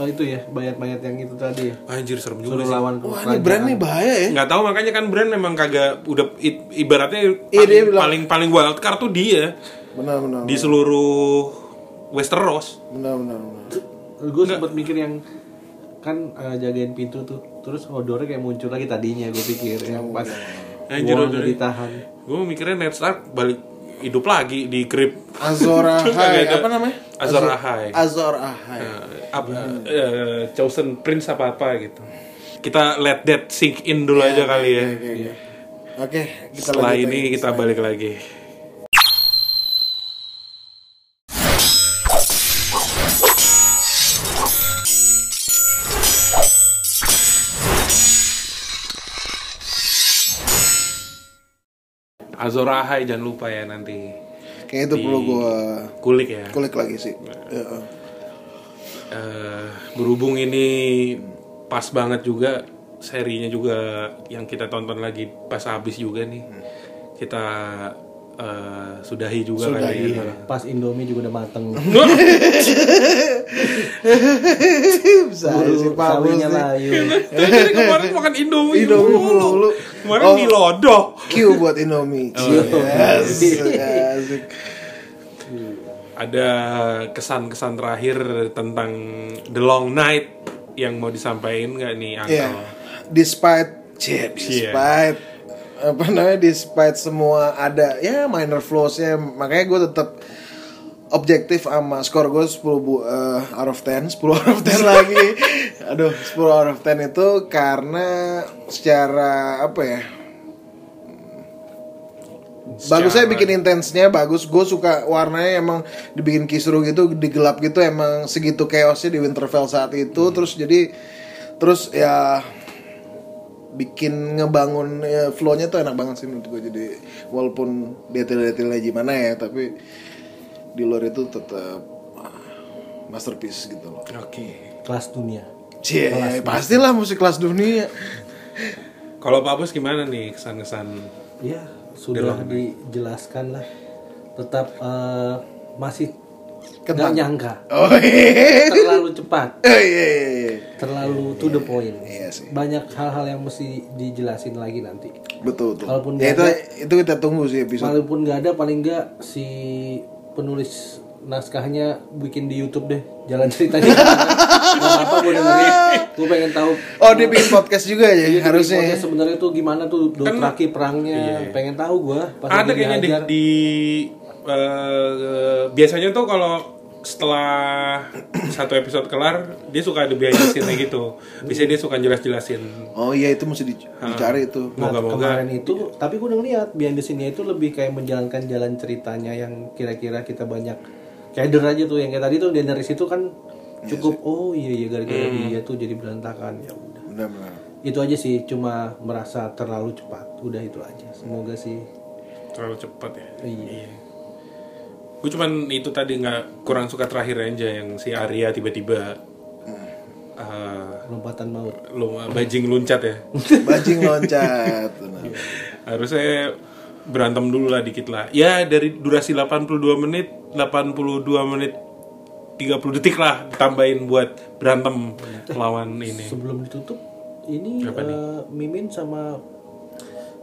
S3: oh, itu ya bayat-bayat yang itu tadi ya
S2: Anjir serem juga
S3: suruh
S2: sih.
S3: lawan
S4: Wah, ini brand nih bahaya
S3: Iya.
S4: ya.
S2: Nggak tahu makanya kan Bran memang kagak udah i- ibaratnya
S4: Iya, dia
S2: paling,
S4: bilang-
S2: paling paling wild card tuh dia
S4: Benar, benar.
S2: di seluruh Westeros.
S4: Benar, benar, benar.
S3: gue sempat mikir yang kan eh, jagain pintu tuh terus odornya kayak muncul lagi tadinya gue pikir yang pas
S2: Anjir,
S3: Wong
S2: odornya.
S3: ditahan
S2: gue mikirnya Ned Stark balik hidup lagi di crib
S4: Azor Ahai,
S2: Kagak ada.
S4: apa namanya?
S2: Azor Ahai
S4: Azor Ahai.
S2: Eh, apa
S4: Hmm.
S2: eh, chosen prince apa apa gitu kita let that sink in dulu
S4: Iya,
S2: aja kali ya
S4: Oke, oke. Oke, kita
S2: setelah
S4: lanjut
S2: ini
S4: lagi.
S2: kita balik lagi Azor Ahai jangan lupa ya nanti
S4: Kayak itu perlu gue
S2: kulik ya.
S4: kulik lagi sih. Heeh.
S2: Eh, berhubung ini pas banget juga serinya juga yang kita tonton lagi pas habis juga nih. Kita eh, sudahi juga kali ya.
S3: Pas Indomie juga udah mateng.
S4: Bisa aja sih
S3: Bulu
S4: Pak Bus
S3: sawinya
S4: nih.
S3: layu.
S2: Jadi jadi kemarin makan Indomie,
S4: Indomie mulu.
S2: Kemarin
S4: Oh.
S2: di Lodoh.
S4: Q buat Indomie.
S2: Oh, iya.
S4: Yes, asik.
S2: Ada kesan-kesan terakhir tentang The Long Night yang mau disampaikan nggak nih Angkel?
S4: Ya, despite, cie, despite apa namanya, despite semua ada ya minor flawsnya, makanya gue tetap objektif sama skor gue 10 bu, eh, out of 10 10 out of 10 lagi aduh 10 out of 10 itu karena secara apa ya bagusnya
S2: Secara-
S4: bikin intensnya bagus gue suka warnanya emang dibikin kisru gitu digelap gitu emang segitu chaosnya di Winterfell saat itu terus jadi terus ya bikin ngebangun ya, flow-nya tuh enak banget sih menurut gue jadi walaupun detail-detailnya gimana ya tapi di luar itu tetap ah, masterpiece gitu loh
S2: Oke.
S3: Kelas dunia.
S4: cie pastilah musik kelas dunia
S2: Kalau Pak Bos gimana nih kesan-kesan
S3: Ya, sudah dijelaskan lah. Tetap eh, masih nggak
S4: Kentang.
S3: nyangka.
S4: oh iya
S3: Terlalu cepat.
S4: iya iya, iya.
S3: terlalu to the point.
S4: Iya sih.
S3: Banyak hal-hal yang mesti dijelasin lagi nanti.
S4: betul betul
S3: Walaupun
S4: ya itu
S3: nggak
S4: itu kita tunggu sih episode
S3: Walaupun nggak ada, paling nggak si penulis naskahnya bikin di YouTube deh jalan ceritanya. Gak apa gue dengerin. Gue pengen tahu.
S4: oh dia bikin podcast juga ya
S3: Iya,
S4: harusnya
S3: pokoknya sebenarnya tuh gimana tuh Dothraki perangnya pengen tahu gue
S2: Kan Iya. ada kayaknya di, di eh, biasanya tuh kalau setelah satu episode kelar dia suka ada behind the scene-nya gitu biasanya dia suka jelas-jelasin
S4: oh iya itu mesti di- dicari itu
S3: Nah,
S2: moga-moga
S3: kemarin itu, tapi gue udah ngeliat behind the scene-nya itu lebih kayak menjalankan jalan ceritanya yang kira-kira kita banyak kader aja tuh yang kayak tadi tuh dari situ kan cukup oh iya iya gara-gara dia tuh jadi berantakan ya udah.
S4: benar-benar
S3: Itu aja sih cuma merasa terlalu cepat. Udah itu aja. Semoga sih
S2: terlalu cepat ya
S3: iya.
S2: gue cuman itu tadi nggak kurang suka terakhir aja yang si Arya tiba-tiba eh,
S3: lompatan maut.
S2: lu- bajing luncat ya
S4: bajing loncat benar.
S2: harusnya berantem dulu lah dikit lah ya dari durasi 82 menit 82 menit 30 detik lah tambahin buat berantem lawan ini
S3: Sebelum ditutup ini eh, Mimin sama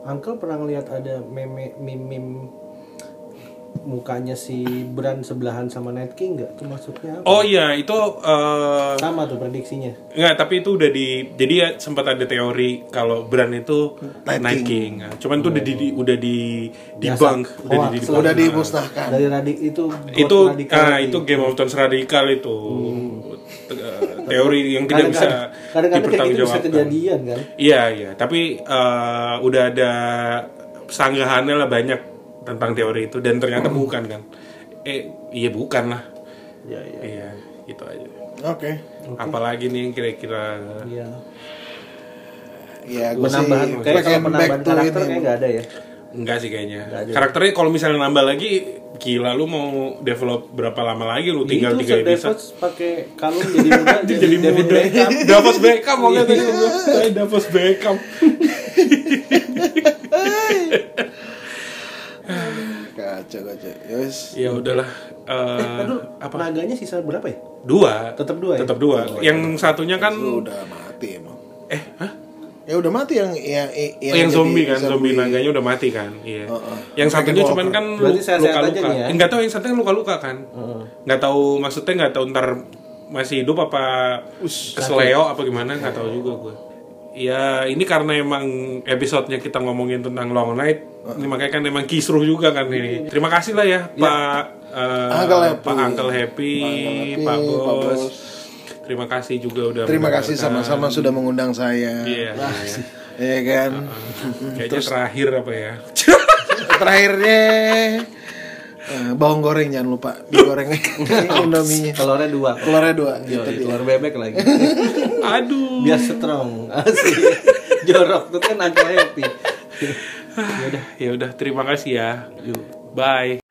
S3: Uncle pernah ngeliat ada meme mimim mukanya si Bran sebelahan sama Night King nggak? Itu maksudnya apa?
S2: oh iya itu eh,
S3: sama tuh prediksinya.
S2: nggak tapi itu udah di jadi ya sempat ada teori kalau Bran itu Night, King. Nah, cuman tuh udah di
S3: Iya.
S2: di- udah di debunk
S3: Oh,
S2: udah di, debunk.
S4: udah dimusnahkan
S3: Dari radik itu
S2: itu
S3: God radikal
S2: ah,
S3: lagi.
S2: itu Game of Thrones radikal itu Te- eh, teori yang tidak bisa
S3: Kadang-kadang- kadang-kadang kayak gitu bisa
S2: dipertanggungjawabkan
S3: kejadian kan.
S2: Iya iya, tapi eh, udah ada sanggahannya lah banyak tentang teori itu dan ternyata bukan kan? Eh iya bukan lah.
S3: Ya ya.
S2: Iya gitu aja.
S4: oke
S2: Apalagi nih yang kira-kira
S3: Iya.
S4: ya gue sih
S3: Penambahan kayak kalau
S4: pengen back
S3: penambahan
S4: to
S3: karakter
S4: ini
S3: kayak nggak ada ya.
S2: enggak sih kayaknya. Karakternya kalau misalnya nambah lagi gila lu mau develop berapa lama lagi lu tinggal
S3: itu
S2: tiga
S3: Sir
S2: episode.
S3: Davos pakai kalung jadi muda jadi,
S2: Jadi
S3: David
S2: muda.
S3: Beckham.
S2: Davos Beckham mau kata gue. Saya Davos Beckham.
S4: kacau kacau yes
S2: Ya udahlah. Eh,
S3: Aduh,
S2: apa?
S3: Naganya sisa berapa ya?
S2: Dua.
S3: Tetap dua ya?
S2: Tetap dua. yang satunya kan
S4: Lu udah mati emang
S2: eh hah?
S4: ya udah mati yang yang
S2: Oh, yang
S4: Iya, jadi
S2: zombie kan, zombie, naganya udah mati kan. Iya.
S4: Heeh.
S2: Yang satunya
S4: Walker.
S2: cuman kan
S3: Berarti
S2: lu-
S3: sehat-sehat aja
S2: luka-luka.
S3: nih ya?
S2: Enggak tahu yang satunya luka-luka kan.
S3: Heeh.
S2: Nggak tahu maksudnya nggak tahu ntar masih hidup apa kesleo apa gimana nggak tahu juga gue. Ya ini karena emang episodenya kita ngomongin tentang Long Night, ini makanya kan emang kisruh juga kan ini. Terima kasih lah ya Pak eh,
S4: Uncle Happy.
S2: Pak Uncle Happy,
S4: Happy,
S2: Pak Bos.
S4: Pak Bos.
S2: Terima kasih juga udah
S4: terima
S2: mendengarkan.
S4: kasih sama-sama sudah mengundang saya
S2: Iya. iya.
S4: ya kan
S2: Kayaknya terakhir apa ya?
S4: terakhirnya eh, bawang goreng jangan lupa digoreng indominya
S3: Telurnya dua.
S4: telurnya dua
S3: Yo,
S4: gitu dia
S3: telur bebek lagi.
S2: Aduh.
S3: Biar strong. Asik. Jorok tuh kan agak happy.
S2: ya udah ya udah terima kasih ya Yuk, bye